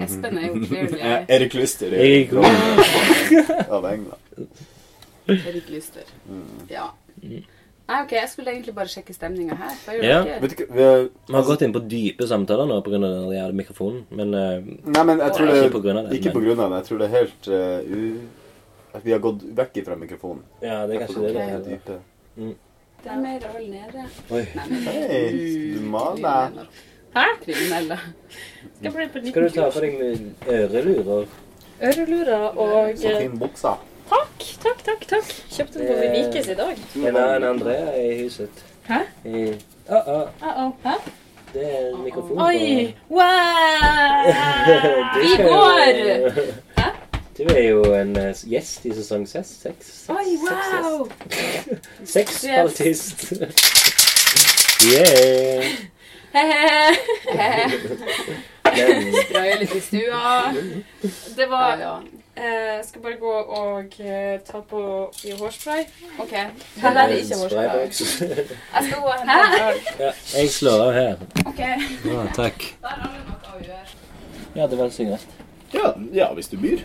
Speaker 5: Espen er jo clearly
Speaker 4: Eh, Erik Lyster er
Speaker 7: Jeg er god.
Speaker 4: dronning av England.
Speaker 5: Erik Lyster. Ja. Nei, ok, jeg skulle egentlig bare sjekke stemninga her. Hva gjør
Speaker 7: Ja.
Speaker 5: dere?
Speaker 4: Vet du hva vi-
Speaker 7: Vi har gått inn på dype samtaler nå pga. den jævla mikrofonen, men eh,
Speaker 4: Nei, men jeg tror det
Speaker 7: Ikke på grunn av det,
Speaker 4: Ikke
Speaker 7: men-
Speaker 4: på grunn av det. Jeg tror det er helt eh, u... At vi har gått vekk fra mikrofonen.
Speaker 7: ja, det er kanskje det det heter.
Speaker 4: Dype.
Speaker 5: Det er mer øl nede.
Speaker 7: Oi.
Speaker 4: Hei, du maler.
Speaker 5: Hæ? Kriminelle. Skal jeg bli på
Speaker 7: Skal du ta på deg med ørelurer?
Speaker 5: Ørelurer og
Speaker 4: Så fin buksa.
Speaker 6: Takk, takk, takk. takk. Kjøpte den på
Speaker 2: Det-
Speaker 6: Vivikes i dag.
Speaker 5: Mm.
Speaker 2: Men det er en Andrea i huset.
Speaker 6: Hæ?
Speaker 2: I... Ah, ah,
Speaker 6: Uh-oh. Hæ?
Speaker 2: det er en mikrofon.
Speaker 6: Oi!
Speaker 2: på-
Speaker 6: Wow!
Speaker 2: Du
Speaker 6: Vi
Speaker 2: er jo-
Speaker 6: går! Hæ?
Speaker 2: Du er jo en eh, gjest i sesong ses- seks. seks-
Speaker 6: Oi, wow!
Speaker 2: seks-
Speaker 6: Yes.
Speaker 2: Sexspaltist. Yeah! Men
Speaker 5: Drøye litt i stua.
Speaker 6: Det
Speaker 5: Ja,
Speaker 6: var
Speaker 5: ja.
Speaker 6: eh, Skal bare gå og eh, ta på i hårspray.
Speaker 5: OK.
Speaker 6: Her er det ikke hårspray.
Speaker 2: Spraybox.
Speaker 5: Jeg skal gå og hente en øl.
Speaker 7: Ja, jeg slår av her.
Speaker 5: OK.
Speaker 7: Ja, takk.
Speaker 5: Der har vi noe å gjøre.
Speaker 7: Ja, det var sigarett.
Speaker 4: Ja, ja, hvis du byr.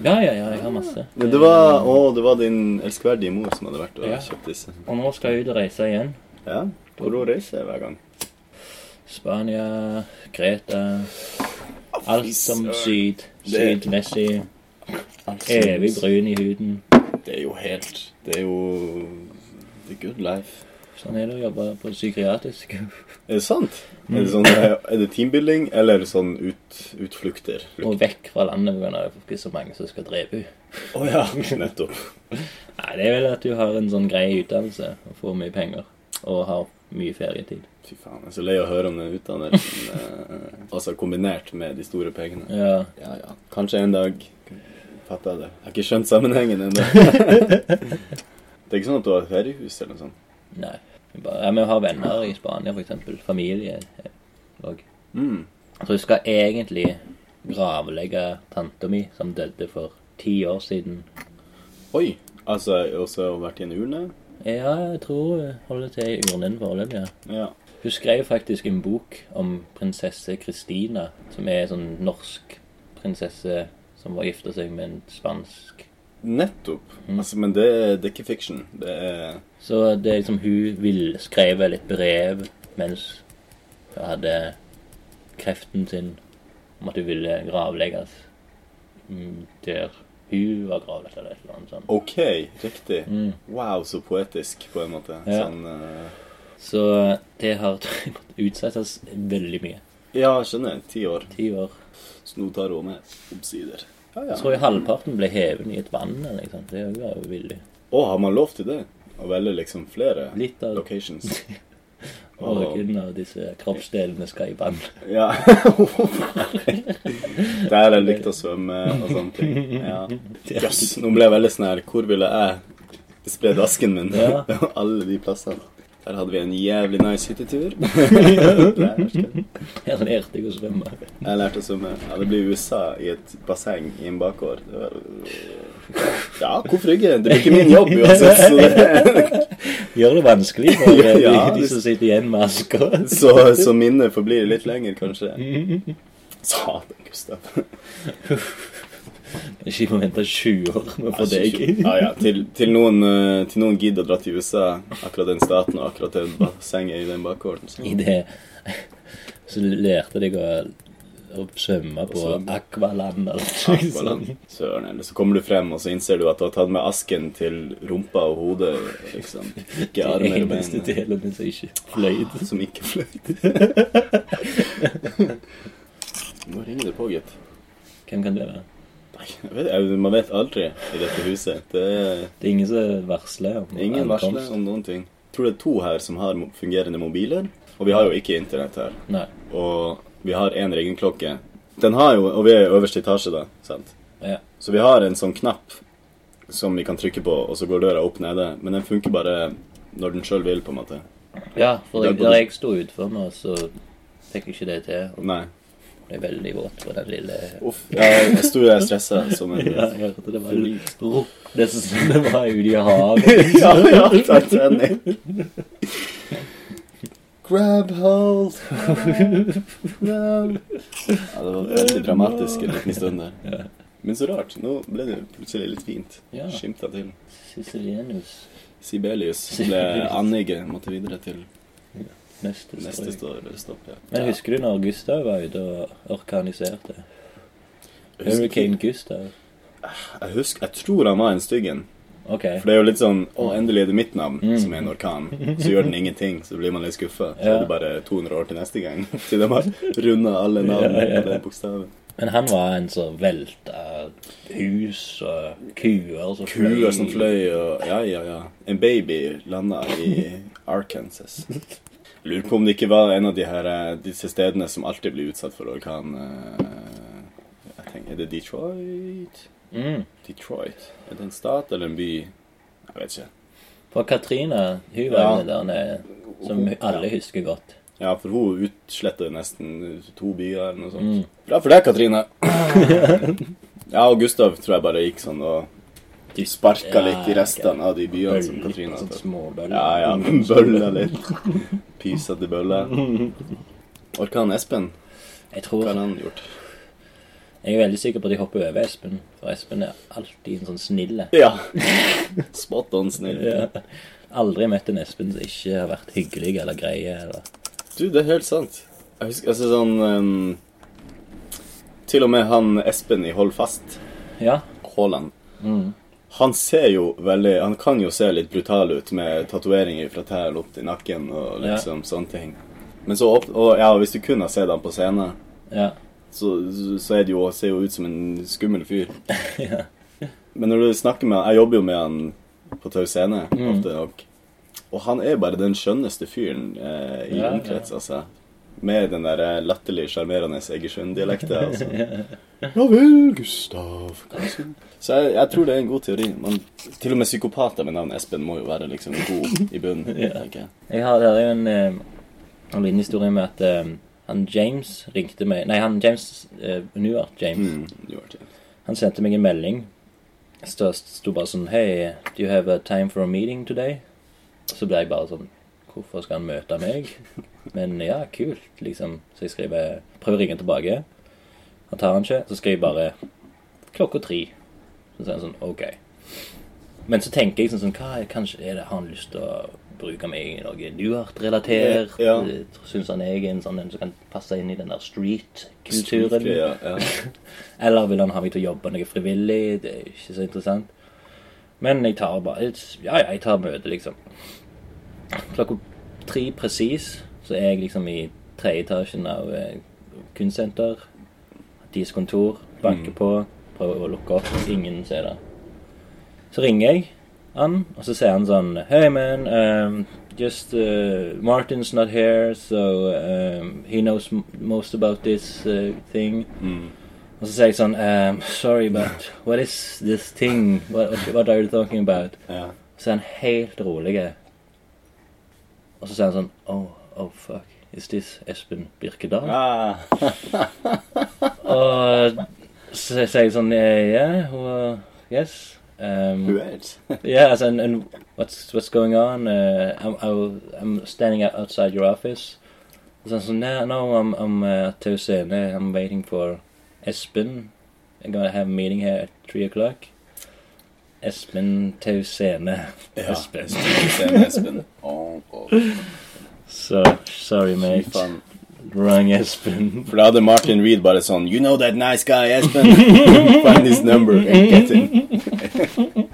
Speaker 7: Ja, ja, ja, jeg har masse.
Speaker 4: Ja, det, var, å, det var din elskverdige mor som hadde vært og
Speaker 7: Ja.
Speaker 4: kjøpt disse.
Speaker 7: Og nå skal jeg ut og reise igjen.
Speaker 4: Ja, Hvor hun reiser hver gang.
Speaker 7: Spania, Kreta Alt som syd.
Speaker 4: Det-
Speaker 7: Sydmessig. Evig brun i huden.
Speaker 4: Det er jo helt Det er jo the good life.
Speaker 7: Sånn er det å jobbe på psykiatrisk.
Speaker 4: Er det sant? Er, det sånn, er det teambuilding eller sånn ut, utflukter? Å
Speaker 7: Og vekk fra landet pga. at det er ikke så mange som skal drepe henne.
Speaker 4: ja, nettopp.
Speaker 7: Nei, det er vel at du har en sånn grei utdannelse og får mye penger. Og har mye ferietid.
Speaker 4: Fy faen, jeg er så lei av å høre om den utdannelsen. eh, altså kombinert med de store pengene.
Speaker 7: Ja.
Speaker 4: Ja, ja. Kanskje en dag fatter jeg det. Jeg har ikke skjønt sammenhengen ennå. det er ikke sånn at du har feriehus eller noe sånt?
Speaker 7: Nei. Vi bare- Ja, vi har venner i Spania, f.eks. Familie. eh, Og.
Speaker 4: Mm.
Speaker 7: Så jeg skal egentlig gravlegge tanta mi, som døde for ti år siden.
Speaker 4: Oi! Altså, jeg har også vært i en urne?
Speaker 7: Ja, jeg tror hun holder til i urnen foreløpig. Ja.
Speaker 4: Ja.
Speaker 7: Hun skrev faktisk en bok om prinsesse Kristina, som er en sånn norsk prinsesse som var gifta seg med en spansk
Speaker 4: Nettopp. Altså, men det, det er ikke fiction. Det er
Speaker 7: Så det er liksom hun vil skrev vel et brev mens hun hadde kreften sin, om at hun ville gravlegges mm, der hun var gravlagt eller et eller annet sånt. Mm.
Speaker 4: OK, riktig. Wow, så poetisk, på en måte.
Speaker 7: Ja.
Speaker 4: Sånn eh,
Speaker 7: Så det har måttet utsettes veldig mye.
Speaker 4: Ja, skjønner. Ti år.
Speaker 7: Ti år.
Speaker 4: Så nå tar hun med omsider. Ja,
Speaker 7: Jeg
Speaker 4: ja.
Speaker 7: tror jo halvparten ble hevet i et vann eller noe sånt. Det var jo villig.
Speaker 4: Å, har man lov til det? Å velge liksom flere
Speaker 7: Litt av
Speaker 4: locations? Åh.
Speaker 7: Noen av disse kroppsdelene skal i vann.
Speaker 4: Ja. Der jeg likte å svømme og sånne ting. Ja. Jøss, nå ble jeg veldig sånn her Hvor ville jeg spre dasken min?
Speaker 7: Ja.
Speaker 4: Alle de plassene. Der hadde vi en jævlig nice hyttetur. Der.
Speaker 7: Her lærte jeg å svømme.
Speaker 4: Jeg lærte å svømme. Ja, det blir USA i et basseng i en bakgård. Det var... Ja, hvorfor ikke? Det blir ikke min jobb uansett. Så, det...
Speaker 7: Gjør det vanskelig for eh, de,
Speaker 4: Ja,
Speaker 7: de
Speaker 4: det-
Speaker 7: som sitter igjen med asker.
Speaker 4: så, så minnet forblir litt lenger, kanskje. Satan, Gustav.
Speaker 7: Ikke må vente 20 år med å få deg.
Speaker 4: Ja, ja. Til, til noen, eh, til noen gidder å dra til USA, akkurat den staten og akkurat det bassenget i den bakgården. Så.
Speaker 7: I det så lærte jeg å, å svømme på
Speaker 4: Svømme.
Speaker 7: akvaland altså. eller noe sånt.
Speaker 4: Akvaland. Søren, eller så kommer du frem, og så innser du at du har tatt med asken til rumpa og hodet, liksom. Ikke
Speaker 7: Den
Speaker 4: armer og
Speaker 7: eneste
Speaker 4: bein.
Speaker 7: delen som ikke fløyd.
Speaker 4: Som ikke fløyt. Nå ringer det på, gitt.
Speaker 7: Hvem kan det være?
Speaker 4: Nei, jeg vet- jeg- Man vet aldri i dette huset. Det er
Speaker 7: Det er ingen som varsler om
Speaker 4: ingen varsler om noen ting. Jeg tror det er to her som har mo- fungerende mobiler, og vi har jo ikke internett her.
Speaker 7: Nei.
Speaker 4: Og vi har en ringeklokke. Den har jo, og vi er i øverste etasje, da. sant?
Speaker 7: Ja.
Speaker 4: Så vi har en sånn knapp som vi kan trykke på, og så går døra opp nede. Men den funker bare når den sjøl vil, på en måte.
Speaker 7: ja, for
Speaker 4: Der
Speaker 7: jeg,
Speaker 4: går
Speaker 7: da
Speaker 4: du-
Speaker 7: jeg sto utenfor nå, så fikk jeg ikke det til. Og
Speaker 4: Nei.
Speaker 7: ble veldig våt på den lille
Speaker 4: Uff. Jeg, jeg sto der stressa som en
Speaker 7: Ja, jeg hørte det var rukk. Det som det var ute i havet.
Speaker 4: Ja, ja, Titanic. Grab hold. Grab. Ja, det var veldig dramatisk en liten stund der. Men så rart. Nå ble det plutselig litt fint.
Speaker 7: Ja.
Speaker 4: Skimta til.
Speaker 7: Sicilianus.
Speaker 4: Sibelius ble
Speaker 7: Sibelius.
Speaker 4: Annige måtte videre til
Speaker 7: Neste
Speaker 4: neste
Speaker 7: strøk.
Speaker 4: store stopp. Ja.
Speaker 7: Men husker du når Gustav var ute og organiserte? Hurricane Gustav.
Speaker 4: Jeg husker, jeg tror han var en styggen.
Speaker 7: Ok.
Speaker 4: For det er jo litt sånn Å,
Speaker 7: Mm.
Speaker 4: endelig er det mitt navn som er en orkan. Så gjør den ingenting, så blir man litt skuffa. Så
Speaker 7: Ja.
Speaker 4: er det bare 200 år til neste gang. Til de har runda alle navn på den bokstaven.
Speaker 7: Men han var en som velta hus og kuer som
Speaker 4: Kuer som fløy og Ja, ja, ja. En baby landa i Arkansas. Lurer på om det ikke var en av de her, eh, disse stedene som alltid blir utsatt for orkan eh, jeg tenker, Er det Detroit?
Speaker 7: Mm.
Speaker 4: Detroit? Er det en stat eller en by? Jeg vet ikke.
Speaker 7: For Katrina, hun var
Speaker 4: Ja.
Speaker 7: jo der nede, som alle husker godt.
Speaker 4: Ja, for hun utsletter nesten to byer eller noe sånt.
Speaker 7: Mm.
Speaker 4: Bra for deg, Katrine. ja, og Gustav tror jeg bare gikk sånn og
Speaker 7: De
Speaker 4: sparka
Speaker 7: Ja,
Speaker 4: litt i restene av de byene som Katrina
Speaker 7: Sånn
Speaker 4: hadde.
Speaker 7: småbøller.
Speaker 4: Ja, ja, bølla litt. Pysete bølla. Orka han Espen? Hva
Speaker 7: Jeg tror
Speaker 4: har han gjort?
Speaker 7: Jeg er veldig sikker på at de hopper over Espen, for Espen er alltid en sånn snille.
Speaker 4: Ja. Spot on, snill.
Speaker 7: Aldri møtt en Espen som ikke har vært hyggelig eller greie eller
Speaker 4: Du, det er helt sant. Jeg husker altså sånn ehm, Til og med han Espen i Hold fast,
Speaker 7: Ja.
Speaker 4: Haaland, han ser jo veldig Han kan jo se litt brutal ut med tatoveringer fra tærne opp til nakken og
Speaker 7: Ja.
Speaker 4: liksom sånne ting. Men så opp, og, ja, hvis du kun har sett han på scenen
Speaker 7: ja.
Speaker 4: så, så- så er det jo, ser jo ut som en skummel fyr. Men når du snakker med han Jeg jobber jo med han på Tau Scene ofte nok. Og han er bare den skjønneste fyren eh, i
Speaker 7: Ja, ja.
Speaker 4: omkrets, altså. Med den der eh, latterlig sjarmerende Egersund-dialekta. Altså. ja vel, Gustav kanskje. Så jeg, jeg tror det er en god teori. Man, til og med psykopater med navn Espen må jo være liksom god i bunnen. tenker jeg.
Speaker 7: Jeg har der er jo en, eh, en liten historie med at eh, han James ringte meg Nei, han James eh, Newart James.
Speaker 4: Mm, du har til.
Speaker 7: Han sendte meg en melding. Det sto bare sånn Hei, do you have a time for a meeting today? Så ble jeg bare sånn Hvorfor skal han møte meg? Men ja, kult, liksom. Så jeg skriver Prøv å ringe han tilbake. Han tar han ikke. Så skriver jeg bare klokka tre. Så sier han sånn OK. Men så tenker jeg sånn, sånn hva, er- Kanskje er det har han lyst til å bruke meg i noe Newart-relatert?
Speaker 4: Ja.
Speaker 7: Syns han jeg er en sånn en som kan passe inn i den der street-kulturen?
Speaker 4: Ja, ja.
Speaker 7: Eller vil han ha meg til å jobbe noe frivillig? Det er ikke så interessant. Men jeg tar bare Ja, ja, jeg tar møte, liksom. Klokka tre presis så er jeg liksom i tredje etasjen av eh, kunstsenter. Deres kontor. Banker på. Prøver å lukke opp. Ingen ser det. Så ringer jeg han, og så sier han sånn Hey man, um, just uh, Martin's not here, so um, he knows m most about this uh, thing.
Speaker 4: Mm,
Speaker 7: Og så sier jeg sånn um, Sorry, but what is this thing? What, what, what are you talking about?
Speaker 4: ja.
Speaker 7: Så er han helt rolig. Og så sier han sånn Oh, oh fuck. Is this Espen Birkedal?
Speaker 4: Ah,
Speaker 7: Og så sier jeg sånn eh, Yeah, well, yes. Um,
Speaker 4: weird.
Speaker 7: Yes, and, and what's what's going on? Uh, I'm I, will- I'm standing out outside your office. So, so no, no, I'm I'm uh, at Tucson. Uh, I'm waiting for Espen. I'm gonna have a meeting here at three o'clock. Espen Tucson.
Speaker 4: Ja.
Speaker 7: Espen.
Speaker 4: Espen. Espen. Å, å,
Speaker 7: So
Speaker 4: fy
Speaker 7: sorry, mate.
Speaker 4: faen.
Speaker 7: Wrong Espen.
Speaker 4: For da hadde Martin Reed bare sånn You know that nice guy, Espen? Find his number and get him.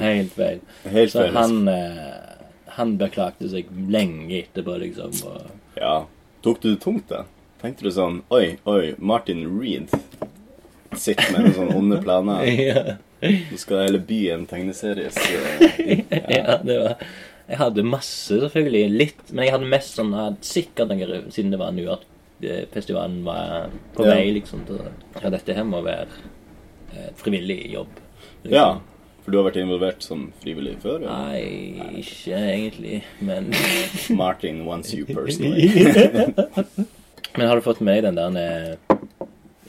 Speaker 7: Helt feil.
Speaker 4: Helt
Speaker 7: Så
Speaker 4: feil.
Speaker 7: han eh, han beklagte seg lenge etterpå, liksom. Og
Speaker 4: Ja. Tok du det tungt, da? Tenkte du sånn Oi, oi, Martin Reed sitter med noen sånne onde planer.
Speaker 7: ja.
Speaker 4: Nå skal hele byen tegneseries. eh,
Speaker 7: Ja, det var Jeg hadde masse, selvfølgelig. Litt. Men jeg hadde mest sånn eh, sikkert noe rød, siden det var New York-festivalen var på
Speaker 4: Ja.
Speaker 7: vei, liksom. Til, ja, dette her må være eh, frivillig jobb. liksom.
Speaker 4: Ja. For du har vært involvert som frivillig før? eller?
Speaker 7: Nei, ikke egentlig, men
Speaker 4: Martin wants you personally.
Speaker 7: Men har du fått med deg den der eh,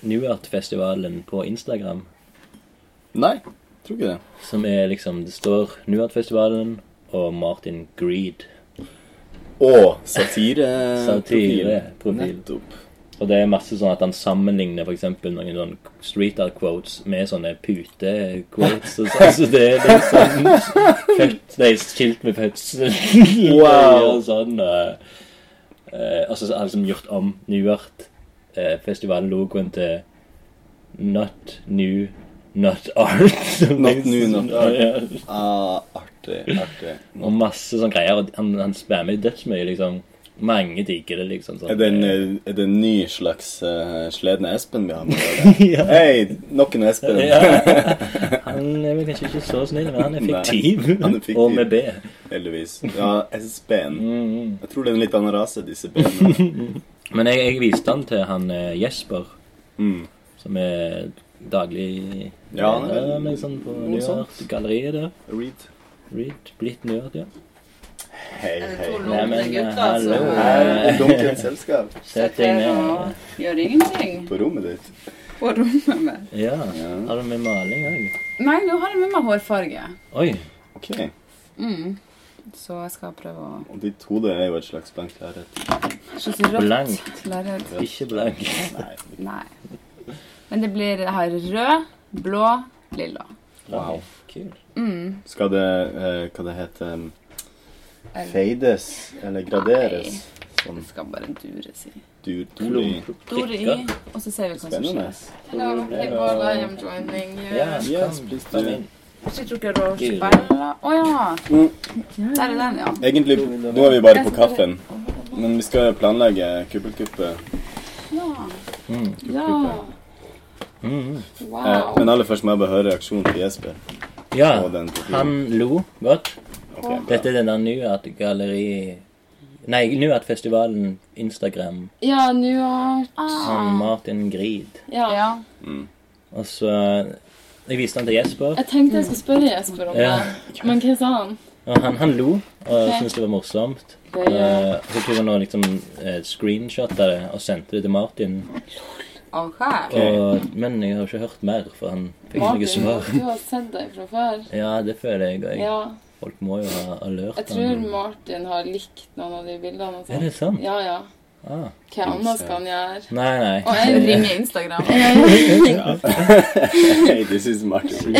Speaker 7: New York-festivalen på Instagram?
Speaker 4: Nei, tror ikke det.
Speaker 7: Som er liksom Det står New York-festivalen og Martin Greed.
Speaker 4: Og satire.
Speaker 7: Satireprofil.
Speaker 4: Nettopp.
Speaker 7: Og det er masse sånn at han sammenligner for eksempel noen sånn street art quotes med sånne pute-quotes. og sånn, så det er litt sånn født, nei, skilt med fødsel
Speaker 4: Wow.
Speaker 7: og sånn. Og, eh, og så har han liksom gjort om Newart-festivallogoen til Not New Not Art. liksom-
Speaker 4: Not new, not art.
Speaker 7: Ja.
Speaker 4: Ah, artig, artig.
Speaker 7: Og masse sånn greier. Og han, han spammer dødsmye, liksom. Mange digger det, liksom. Sånn.
Speaker 4: Er det en, eh, er det en ny slags eh, sleden Espen vi har med oss? Hei, nok en Espen.
Speaker 7: Ja. Han er vel kanskje ikke så snill, men han er
Speaker 4: Nei,
Speaker 7: fiktiv.
Speaker 4: han er fiktiv.
Speaker 7: Og med B.
Speaker 4: Heldigvis. Ja, Espen.
Speaker 7: Mm.
Speaker 4: Jeg tror det er en litt annen rase, disse benene.
Speaker 7: Men jeg, jeg viste han til han eh, Jesper,
Speaker 4: Mm.
Speaker 7: som er daglig
Speaker 4: Ja, han er
Speaker 7: leder,
Speaker 4: vel
Speaker 7: liksom, på
Speaker 4: noe
Speaker 7: New
Speaker 4: sånt.
Speaker 7: York, galleriet der.
Speaker 4: Reed.
Speaker 7: Reed, blitt nerd, ja.
Speaker 4: Hei, hei.
Speaker 7: Nei, men,
Speaker 5: Gutter,
Speaker 7: eh,
Speaker 5: altså.
Speaker 7: hallo.
Speaker 4: Her er dunkens selskap.
Speaker 7: Sett deg ned.
Speaker 5: Gjør ingenting
Speaker 4: På rommet ditt.
Speaker 5: på rommet mitt.
Speaker 7: Ja. Har du med maling òg?
Speaker 5: Nei, nå har jeg med meg hårfarge.
Speaker 7: Oi.
Speaker 4: Ok.
Speaker 5: Mm. Så jeg skal prøve å
Speaker 4: Og ditt hode er jo et slags blankt lerret.
Speaker 5: Ikke så rått.
Speaker 7: Blankt.
Speaker 5: Lerret.
Speaker 7: Ikke blank.
Speaker 4: Nei.
Speaker 5: Nei. Men det blir Jeg har rød, blå, lilla.
Speaker 4: Wow.
Speaker 7: Kul.
Speaker 5: Mm.
Speaker 4: Skal det eh, Hva det heter um,
Speaker 5: Eller-
Speaker 4: Fades? Eller graderes? Sånn
Speaker 5: Det skal bare dures i.
Speaker 4: du, du,
Speaker 5: Dore i,
Speaker 7: Prikker.
Speaker 5: og så ser vi hva som
Speaker 4: Spennende.
Speaker 5: skjer.
Speaker 6: Hello, people, I am joining you.
Speaker 7: Ja,
Speaker 4: Yes,
Speaker 7: kom,
Speaker 4: please
Speaker 7: kom
Speaker 4: do.
Speaker 7: inn.
Speaker 5: Jeg tror ikke Roche Bella Å ja!
Speaker 4: Mm.
Speaker 5: Der er den, ja.
Speaker 4: Egentlig, nå er vi bare på kaffen. Men vi skal planlegge kuppelkuppet.
Speaker 5: Ja.
Speaker 7: Mm.
Speaker 5: ja.
Speaker 7: Mm.
Speaker 4: Eh,
Speaker 5: Wow.
Speaker 4: men aller først må jeg bare høre reaksjonen til Jesper.
Speaker 7: Ja,
Speaker 4: Og den profilen.
Speaker 7: han lo godt.
Speaker 4: Ok, bra.
Speaker 7: Dette er den der Nuart-galleri... Nei, Nuart-festivalen Instagram.
Speaker 6: Ja, nå er Ah.
Speaker 7: Han
Speaker 5: Ah.
Speaker 7: Martin Grid.
Speaker 6: Ja.
Speaker 5: Ja.
Speaker 4: Mm.
Speaker 7: Og så Jeg viste han til Jesper,
Speaker 6: Jeg tenkte jeg skulle spørre Jesper om
Speaker 7: Ja.
Speaker 6: det, men hva sa han?
Speaker 7: og han, han lo og
Speaker 6: Ok.
Speaker 7: syntes det var morsomt.
Speaker 6: Det gjør
Speaker 7: Eh, så tok han og liksom eh, screenshotta det og sendte det til Martin.
Speaker 5: OK.
Speaker 7: Og, men jeg har ikke hørt mer, for han fikk ikke noe
Speaker 6: Martin,
Speaker 7: svar.
Speaker 6: du har sett deg fra før.
Speaker 7: Ja, det føler jeg òg.
Speaker 6: Ja.
Speaker 7: Folk må jo ha alert
Speaker 6: Jeg tror Martin har likt noen av de bildene. og sånt.
Speaker 7: Er det sant?
Speaker 6: Ja, ja.
Speaker 7: Ah.
Speaker 6: Hva annet skal han gjøre?
Speaker 7: Nei,
Speaker 5: Og
Speaker 7: nei.
Speaker 5: jeg ringer Instagram.
Speaker 4: Hey, this is Martin.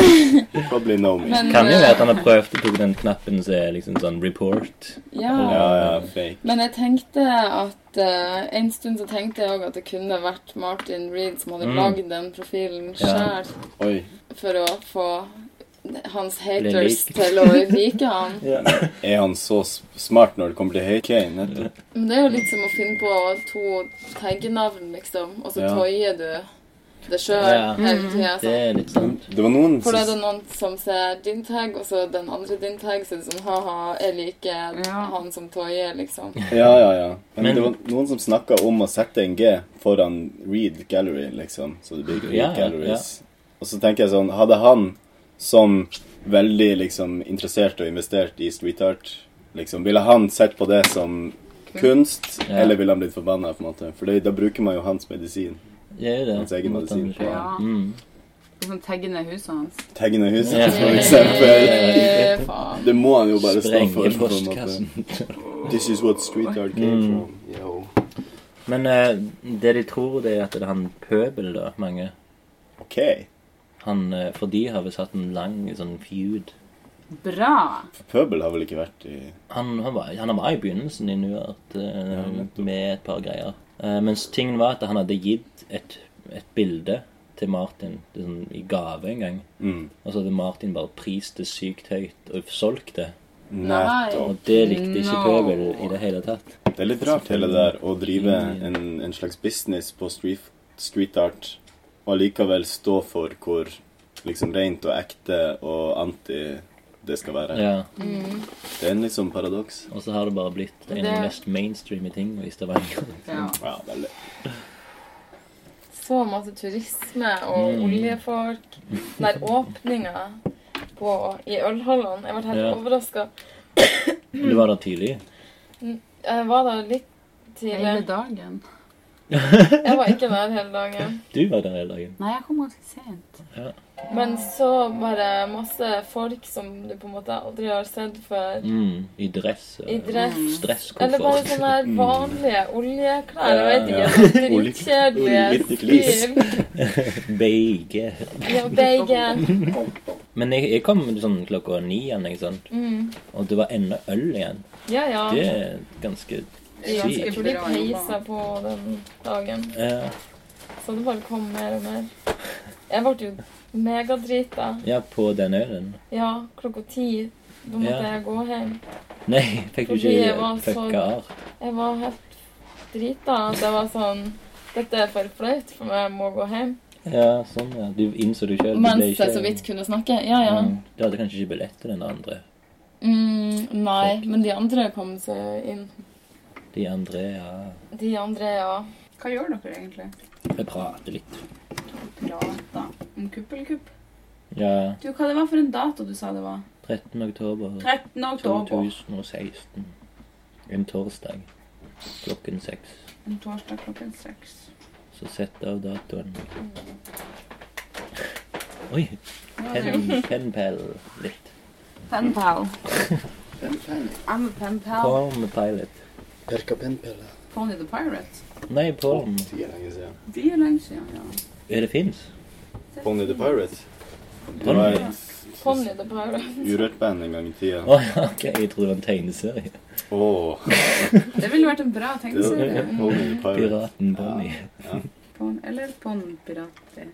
Speaker 4: Probably know me.
Speaker 6: Men,
Speaker 7: Kan jo
Speaker 6: eh,
Speaker 7: være at han har prøvd å tok den knappen som er liksom sånn report.
Speaker 6: Ja.
Speaker 4: Ja, ja, fake.
Speaker 6: Men jeg tenkte at eh, en stund så tenkte jeg òg at det kunne vært Martin Reed som hadde
Speaker 7: Mm.
Speaker 6: lagd den profilen
Speaker 7: Ja.
Speaker 6: sjøl
Speaker 4: Oi.
Speaker 6: for å få hans
Speaker 7: Bli
Speaker 6: haters
Speaker 7: likt.
Speaker 6: til å like han.
Speaker 4: Er han så s- smart når det kommer til Hey Kane? nettopp?
Speaker 6: Men det er jo litt som å finne på to taggenavn, liksom, og så
Speaker 4: Ja.
Speaker 6: tøyer du det sjøl
Speaker 7: Ja. Mm.
Speaker 6: hele tida.
Speaker 7: Det
Speaker 6: Sånn.
Speaker 7: er litt sant.
Speaker 4: Det var noen
Speaker 6: For da er det
Speaker 4: som
Speaker 6: noen som ser din tag, og så den andre din tag, så er det sånn ha-ha, jeg liker
Speaker 5: Ja.
Speaker 6: han som tøyer, liksom.
Speaker 4: Ja, ja, ja. Men,
Speaker 7: Men-
Speaker 4: det var noen som snakka om å sette en G foran Reed Gallery, liksom. Så det blir Reed
Speaker 7: Ja, ja,
Speaker 4: Galleries. Og så tenker jeg sånn Hadde han som veldig liksom interessert og investert i street art, liksom Ville han sett på det som kunst,
Speaker 7: Ja.
Speaker 4: eller ville han blitt forbanna, på en måte? For det, da bruker man jo hans medisin.
Speaker 7: Det er jo det.
Speaker 4: Hans egen medisin.
Speaker 5: Ja.
Speaker 7: Mm.
Speaker 5: Sånn taggende huset hans.
Speaker 4: Taggene i huset,
Speaker 7: Ja.
Speaker 4: for eksempel.
Speaker 6: Eh, faen.
Speaker 4: Det må han jo bare stå for.
Speaker 7: Sprenge Mm.
Speaker 4: på en måte.
Speaker 7: postkassen.
Speaker 4: This is what street art came from. Yo.
Speaker 7: Men eh, det de tror, det er at det er han pøbel, da, mange.
Speaker 4: Ok.
Speaker 7: Han, eh, for de har visst hatt en lang sånn feud.
Speaker 5: Bra.
Speaker 4: For pøbel har vel ikke vært i
Speaker 7: Han, han, var, han var i begynnelsen i New York eh,
Speaker 4: Ja, nettopp.
Speaker 7: med et par greier. Eh, mens tingen var at han hadde gitt et, et bilde til Martin liksom, i gave en gang.
Speaker 4: mm.
Speaker 7: Og så hadde Martin bare prist det sykt høyt og solgt det.
Speaker 4: Nettopp.
Speaker 7: Og det likte
Speaker 5: No.
Speaker 7: ikke pøbel i det hele tatt.
Speaker 4: Det er litt rart, hele det der, å drive en, en slags business på street, street art og allikevel stå for hvor liksom rent og ekte og anti det skal være.
Speaker 7: Ja,
Speaker 5: Mm.
Speaker 4: Det er en litt sånn paradoks.
Speaker 7: Og så har det bare blitt en av de mest mainstreame tingene i Stavanger.
Speaker 5: Ja.
Speaker 4: Ja, veldig.
Speaker 6: Så masse turisme og oljefolk. Den der åpninga på- i ølhallene. Jeg ble helt
Speaker 7: Ja.
Speaker 6: overrasket overraska.
Speaker 7: Du var der tidlig.
Speaker 6: Jeg var der litt
Speaker 5: Hele
Speaker 6: tidlig.
Speaker 5: dagen.
Speaker 6: Jeg var ikke der hele dagen.
Speaker 7: Du var der hele dagen.
Speaker 5: Nei, jeg kom ganske sent.
Speaker 6: Men så bare masse folk som du på en måte aldri har sett før.
Speaker 7: Mm, I dress. og
Speaker 6: I dress. Eller bare
Speaker 7: Stresskoffert.
Speaker 6: sånne her vanlige oljeklær. Jeg vet
Speaker 4: Ja.
Speaker 6: ikke. sånn
Speaker 4: Olje-
Speaker 6: Dritkjedelige
Speaker 4: oljeglis.
Speaker 6: stil.
Speaker 7: Beige.
Speaker 6: Ja, beige.
Speaker 7: Men jeg, jeg kom sånn klokka ni igjen, ikke sant? og det var ennå øl igjen.
Speaker 6: Mm. Ja, ja.
Speaker 7: Det er ganske
Speaker 5: ganske
Speaker 6: Det
Speaker 7: sykt.
Speaker 6: ble peisa på den dagen.
Speaker 7: Ja,
Speaker 6: Så det bare kom mer og mer. Jeg ble jo megadrita.
Speaker 7: ja, på den ølen.
Speaker 6: Ja, klokka ti. Da måtte
Speaker 7: Ja.
Speaker 6: jeg gå hjem.
Speaker 7: Nei, fikk du
Speaker 6: Fordi jeg
Speaker 7: ikke
Speaker 6: var så-
Speaker 7: fucka av?
Speaker 6: Jeg var helt drita. Altså, jeg var sånn Dette er for flaut for meg. Jeg må gå hjem.
Speaker 7: Ja, sånn, ja. Du innså det Mm. sjøl.
Speaker 8: Mens jeg så vidt kunne snakke. Ja, ja.
Speaker 7: Du hadde kanskje ikke billett til den andre.
Speaker 8: Mm, nei,
Speaker 7: Fuck.
Speaker 8: men de andre kom
Speaker 6: Så inn.
Speaker 7: De andre, ja
Speaker 6: De andre, ja.
Speaker 5: Hva gjør dere egentlig?
Speaker 7: Vi prater litt.
Speaker 5: Prata om kuppelkupp.
Speaker 7: Ja.
Speaker 5: Du, hva det var for en dato du sa det var?
Speaker 7: 13. oktober
Speaker 5: 13. oktober.
Speaker 7: 2016. En torsdag klokken seks.
Speaker 5: En torsdag klokken seks.
Speaker 7: Så sett av datoen. Oi!
Speaker 5: Ja, det er jo-
Speaker 7: pen- Penpal litt.
Speaker 5: Pen pal. I'm a pen pal.
Speaker 7: Palm Pilot.
Speaker 9: Perka pennpelle.
Speaker 5: Pony the Pirate.
Speaker 7: Nei, Palm.
Speaker 9: Ti er lenge siden.
Speaker 5: Det er lenge siden, ja.
Speaker 7: Er det fins?
Speaker 4: Pony the Pirate. Det var
Speaker 7: Å
Speaker 4: et
Speaker 6: Pony the Pirate.
Speaker 4: urørt band en gang i tida.
Speaker 7: ja, ok. Jeg tror det var en tegneserie.
Speaker 4: Åh,
Speaker 5: Det ville vært en bra
Speaker 4: det var
Speaker 5: tegneserie.
Speaker 4: Pony the Pirate.
Speaker 7: Piraten Bonnie.
Speaker 5: Pon- Eller Ponpirati.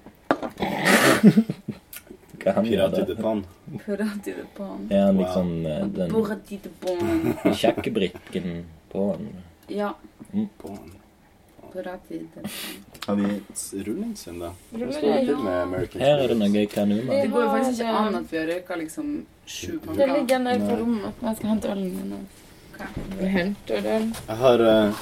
Speaker 7: Hva han gjør
Speaker 4: Pirat i
Speaker 7: da?
Speaker 4: the Pan.
Speaker 5: Pirati de Pon.
Speaker 7: Er han
Speaker 4: Wow.
Speaker 7: liksom eh, den
Speaker 5: Borati de Pon.
Speaker 7: sjakkebrikken på han?
Speaker 5: Ja.
Speaker 4: Pan.
Speaker 5: Pirati de
Speaker 4: Har vi s- rullings ennå? Hvordan står det
Speaker 6: Ruller,
Speaker 4: til
Speaker 6: ja.
Speaker 4: med American
Speaker 7: Her er det
Speaker 4: Spirits?
Speaker 7: noe kanuma.
Speaker 5: Det går jo faktisk ikke an at vi har røyka liksom sju
Speaker 6: Det ligger
Speaker 5: pakker.
Speaker 6: en øl på
Speaker 4: Nei.
Speaker 6: rommet. Jeg skal hente ølen min. Jeg henter øl.
Speaker 4: Jeg har, eh,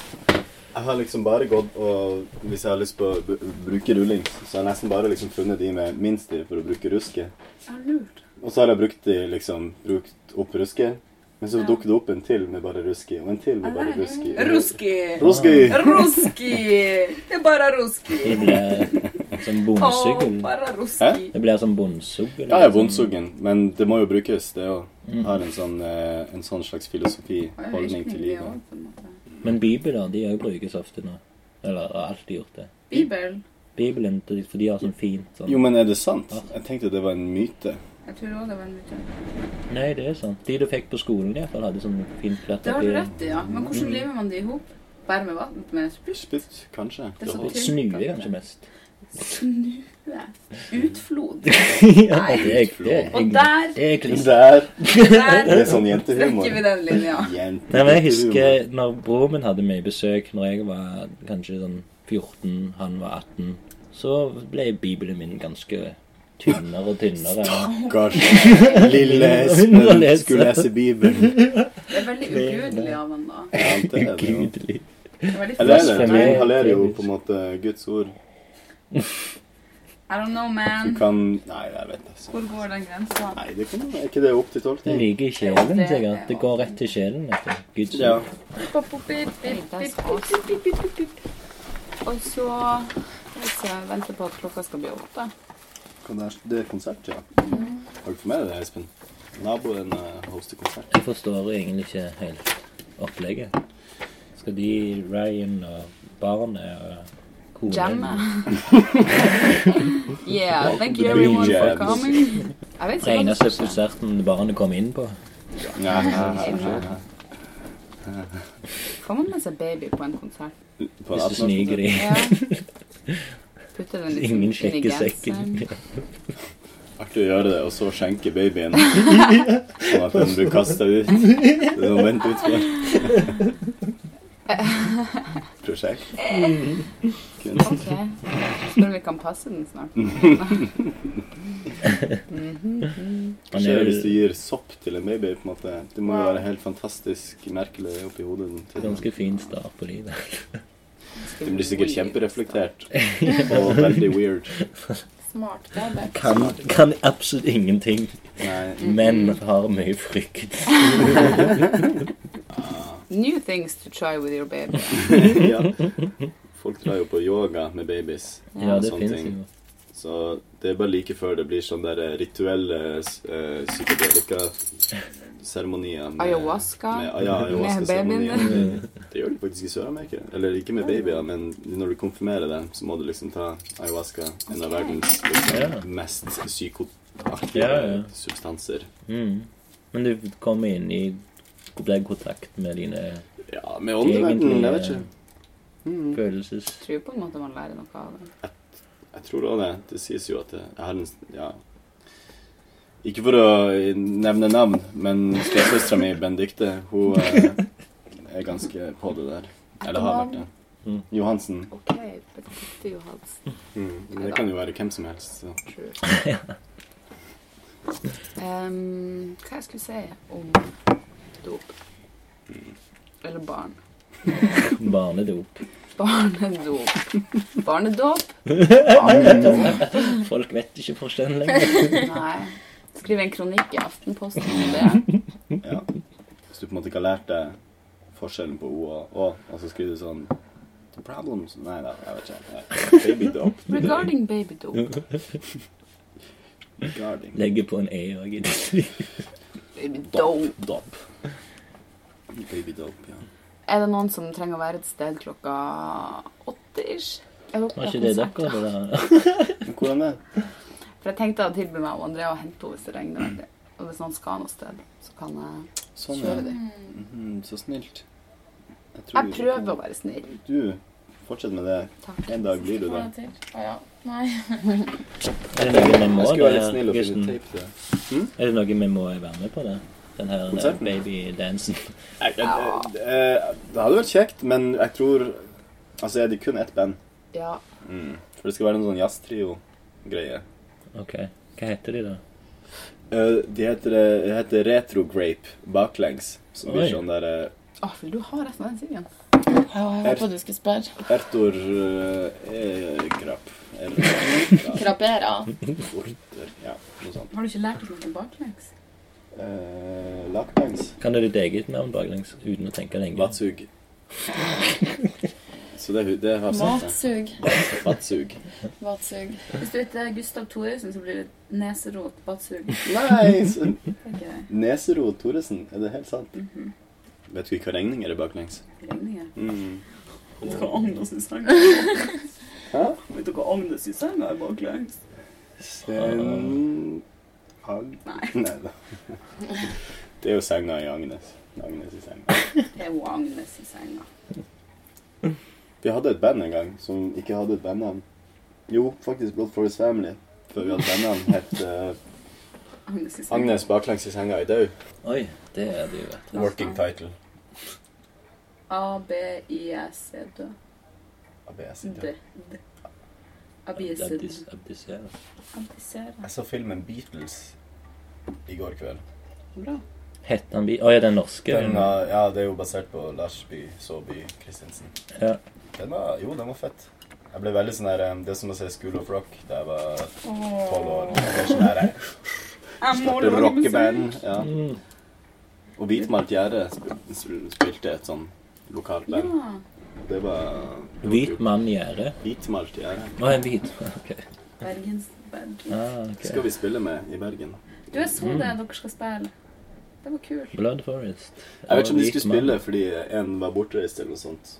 Speaker 4: jeg har liksom bare gått og Hvis jeg har lyst på å b bruke rullings, så har jeg nesten bare liksom funnet de med minst i for å bruke ruske.
Speaker 5: Ja, lurt.
Speaker 4: Og så har jeg brukt de liksom brukt opp ruske. Men så
Speaker 5: Ja.
Speaker 4: dukker det opp en til med bare ruske, og en til med bare ruske.
Speaker 5: Ruski!
Speaker 4: Ruski!
Speaker 5: Ruski! Det er bare ruski.
Speaker 7: Det blir som bondsugel.
Speaker 5: Å, bare ruski.
Speaker 4: Hæ?
Speaker 7: Det blir som bondsugel.
Speaker 4: Ja, jeg er vondsuggen, men det må jo brukes, det òg.
Speaker 7: Mm.
Speaker 4: Har en sånn, eh, en sånn slags filosofi,
Speaker 5: Det er jo
Speaker 4: holdning til
Speaker 5: virkelig det
Speaker 4: livet.
Speaker 5: også, på en måte.
Speaker 7: Men bibler de òg brukes ofte nå. Eller har alltid gjort det.
Speaker 5: Bibel.
Speaker 7: Bibelen, de- for de har sånn fint sånn
Speaker 4: Jo, men er det sant? Jeg tenkte det var en myte.
Speaker 5: Jeg tror også det var en myte.
Speaker 7: Nei, det er sant. De du fikk på skolen i hvert fall hadde sånn fint flert
Speaker 5: Det har du rett i, ja. Men
Speaker 4: Mm.
Speaker 5: hvordan limer man det i hop? Bare med vann? Med spysj?
Speaker 4: Spytt, kanskje.
Speaker 5: Det er så
Speaker 7: Og
Speaker 5: tynt.
Speaker 7: snue kanskje mest.
Speaker 5: Snue. Utflod.
Speaker 7: ja, det er, det er,
Speaker 5: Og der
Speaker 7: det er kliss.
Speaker 4: Der! Det
Speaker 5: Der
Speaker 4: er sånn jentehumor.
Speaker 5: trekker vi den linja.
Speaker 4: Jentehumor.
Speaker 7: Nei, men jeg husker når broren min hadde meg i besøk når jeg var kanskje sånn 14, han var 18, så ble bibelen min ganske tynnere og tynnere.
Speaker 4: Stakkars lille
Speaker 7: Hun må
Speaker 4: Espen
Speaker 7: lese.
Speaker 4: skulle lese Bibelen.
Speaker 5: Det er veldig ugudelig av han da.
Speaker 4: Ja, det er det jo.
Speaker 7: Gudelig.
Speaker 5: Det er veldig
Speaker 4: Eller er det?
Speaker 5: flott.
Speaker 4: Vi inhalerer jo på en måte Guds ord.
Speaker 5: I don't know,
Speaker 4: Du
Speaker 5: man.
Speaker 4: kan Nei, jeg vet ikke.
Speaker 5: Hvor går den grensa?
Speaker 4: Nei, det kan Er ikke det opp til
Speaker 7: Det
Speaker 4: tolkning?
Speaker 7: ligger i sjelen, sikkert. Det går rett til sjelen. vet du. Guds
Speaker 4: Ja.
Speaker 7: ord.
Speaker 5: Og så hvis jeg venter på at klokka skal bli åtte.
Speaker 4: Kan Det er- det er konsert, ja. Har du fått med deg det, Espen? Naboen eh, hoster konsert.
Speaker 7: Jeg forstår egentlig ikke helt opplegget. Skal de, Ryan og barnet og konen
Speaker 5: Jamme. yeah, thank you
Speaker 4: The
Speaker 5: everyone
Speaker 4: Bee
Speaker 5: for
Speaker 4: Jams.
Speaker 5: coming. Jeg vet ikke hva
Speaker 7: Regner
Speaker 5: det skal
Speaker 7: seg på
Speaker 5: skje.
Speaker 7: konserten barnet kom inn på.
Speaker 4: Ja,
Speaker 5: Får man med seg baby på en konsert?
Speaker 4: på
Speaker 7: Hvis
Speaker 4: 18-årskonserten.
Speaker 7: du sniker i
Speaker 5: Ja. Putter den liksom
Speaker 7: Ingen
Speaker 5: inn i
Speaker 7: sjekker sekken.
Speaker 5: genseren.
Speaker 4: Artig å gjøre det, og så skjenke babyen. Sånn at den blir kasta ut. Det er sånn vent ut for. Prosjekt. Kunst.
Speaker 5: Ok. Spør om vi kan passe den snart. Mhm.
Speaker 7: Han
Speaker 4: Skjer
Speaker 7: er
Speaker 4: hvis du
Speaker 7: jo
Speaker 4: gir sopp til en baby, på en måte. Det må jo være helt fantastisk merkelig oppi hodet. Den,
Speaker 7: ganske fin start på livet.
Speaker 4: den blir sikkert kjempereflektert og veldig weird.
Speaker 6: Smart baby.
Speaker 7: Kan, kan absolutt ingenting,
Speaker 4: Nei.
Speaker 7: men har mye frykt.
Speaker 5: New things to try with your baby.
Speaker 4: Ja. Folk drar jo på yoga med babies.
Speaker 7: Ja,
Speaker 4: og
Speaker 7: det
Speaker 4: sånne
Speaker 7: fins
Speaker 4: ting.
Speaker 7: jo.
Speaker 4: Så det er bare like før det blir sånn der eh, rituelle uh, psykedelika-seremonier. med-
Speaker 5: Ayahuasca.
Speaker 4: Med, ah, ja, ayahuasca-seremonier.
Speaker 5: Med
Speaker 4: Det gjør de faktisk i Sør-Amerika. Eller ikke med babyer, men når du konfirmerer deg, så må du liksom ta ayahuasca. En av verdens liksom,
Speaker 7: Ja.
Speaker 4: mest psykoaktive
Speaker 7: Ja, ja.
Speaker 4: substanser.
Speaker 7: Mm. Men du kommer inn i Blir i kontakt med dine
Speaker 4: Ja, med åndeverdenen, jeg vet
Speaker 7: egentlige
Speaker 4: ikke. Mm.
Speaker 7: følelses...
Speaker 5: Jeg tror på en måte man lærer noe av det.
Speaker 4: Jeg tror da det. Det sies jo at det er en Ja. Ikke for å nevne navn, men stesøstera mi, Benedicte, hun eh, er ganske på det der. Eller har vært det.
Speaker 7: Mm.
Speaker 4: Johansen.
Speaker 5: OK, Benedicte Johansen.
Speaker 4: Men det kan jo være hvem som helst. Så.
Speaker 5: True. Ehm, hva jeg skulle si om dop?
Speaker 4: Mm.
Speaker 5: Eller barn.
Speaker 7: Barnedop.
Speaker 5: Barnedop. Barnedåp?
Speaker 7: Folk vet ikke forskjellen lenger.
Speaker 5: Nei. Skriv en kronikk i Aftenposten om det.
Speaker 4: Ja. Hvis du på en måte ikke har lært deg forskjellen på O og Å, og så skriver du sånn The problems Nei da, jeg vet ikke. Ja. Baby dope.
Speaker 5: Regarding babydop.
Speaker 4: Guarding.
Speaker 7: Legger på en E òg.
Speaker 5: Babydop.
Speaker 4: Dop. Baby dope, ja.
Speaker 5: Er det noen som trenger å være et sted klokka åtte-ish? Var
Speaker 7: Var ikke det dere? Det der?
Speaker 4: Men hvordan det?
Speaker 5: For jeg tenkte å tilby meg og Andrea å hente henne hvis det regner veldig. Og hvis noen skal noe sted, så kan jeg
Speaker 4: Sånn, ja.
Speaker 5: kjøre dem.
Speaker 7: Mm.
Speaker 4: Mhm, så snilt. Jeg, tror
Speaker 5: Jeg prøver å være snill.
Speaker 4: Du, fortsett med det.
Speaker 5: Takk.
Speaker 4: En dag blir du
Speaker 6: Hva er
Speaker 4: det.
Speaker 6: det til? Å ja. Nei.
Speaker 7: Er det noe vi må
Speaker 4: Jeg skulle være litt snill og finne
Speaker 7: Gusten?
Speaker 4: tape til det.
Speaker 7: Er det noe vi må være med på? det? Den her eh,
Speaker 4: Konserten?
Speaker 7: babydansen.
Speaker 4: Jeg, jeg, jeg, eh, det hadde vært kjekt, men jeg tror Altså, er det kun ett band?
Speaker 5: Ja.
Speaker 4: Mm. For det skal være en sånn jazztrio-greie.
Speaker 7: Ok. Hva heter de, da?
Speaker 4: Eh, de heter, eh, det heter Retro Grape baklengs. Som blir
Speaker 7: Oi.
Speaker 4: sånn der
Speaker 5: Å, vil du ha resten av den singen?
Speaker 8: Å, jeg håper du skulle spørre.
Speaker 4: eh, Ertor eh, Grap.
Speaker 8: Krabera.
Speaker 4: Orter Ja, noe sånt.
Speaker 6: Har du ikke lært oss noe baklengs?
Speaker 4: Eh, Lakbangs.
Speaker 7: Kan du ditt eget navn baklengs uten å tenke lenge?
Speaker 4: Vatsug. Så det, er hu- det har sagt det.
Speaker 8: Matsug.
Speaker 4: Vatsug.
Speaker 8: Matsug.
Speaker 6: Hvis du heter Gustav Thoresen, så blir det neserot, batsug.
Speaker 4: Nei! så-
Speaker 6: Ikke det?
Speaker 4: Neserod Thoresen, er det helt sant?
Speaker 6: Mhm.
Speaker 4: Vet du ikke hva regninger er baklengs?
Speaker 5: Regninger.
Speaker 4: Mm.
Speaker 5: Vet dere hva Agnes sin sang
Speaker 4: Hæ?
Speaker 5: er? Vet dere hva Agnes sin sang er baklengs?
Speaker 4: Sen... Hag...
Speaker 5: Nei.
Speaker 4: Nei da. Det er jo senga i Agnes. Agnes i senga.
Speaker 5: Det er jo Agnes sin sang, da.
Speaker 4: Vi hadde et band en gang som ikke hadde et bandnavn. Jo, faktisk Blood Forest Family. Før vi hadde bandnavn, het eh,
Speaker 5: Agnes sin sang.
Speaker 4: Agnes baklengs i senga i dau.
Speaker 7: Oi, det er det jo. vet du.
Speaker 4: Working title.
Speaker 5: A, B, I, S, E, D.
Speaker 4: ABS.
Speaker 5: D. D. Abised.
Speaker 7: Abdis- Abdisere.
Speaker 5: Abdisere.
Speaker 4: Jeg så filmen Beatles i går kveld.
Speaker 5: Bra.
Speaker 7: Heter han Bi... Å ja, den norske.
Speaker 4: Den,
Speaker 7: ja.
Speaker 4: uh, ja, det er jo basert på Lars By Saabye Christensen.
Speaker 7: Ja.
Speaker 4: Den var, jo, den var fett. Jeg ble veldig sånn her um, Det er som å se School of Rock da jeg var tolv år. Jeg ble sånn her, jeg Startet rockeband. Ja.
Speaker 7: Mm.
Speaker 4: Og Hvitmalt gjerde spil- spil- spilte et sånn lokalt band.
Speaker 5: Ja.
Speaker 4: Det var
Speaker 7: Hvit mann gjerde.
Speaker 4: Hvitmalt gjerde.
Speaker 7: Å, en hvit. Ok.
Speaker 5: Bergens band.
Speaker 7: Ah,
Speaker 4: Skal
Speaker 7: ok.
Speaker 4: vi spille med i Bergen?
Speaker 6: Du, jeg
Speaker 10: Mm.
Speaker 6: så det dere skal spille. Det var kult.
Speaker 7: Blood Forest.
Speaker 4: Jeg vet ikke om de
Speaker 7: Hvit
Speaker 4: skulle
Speaker 7: mann.
Speaker 4: spille fordi en var bortreist eller noe sånt.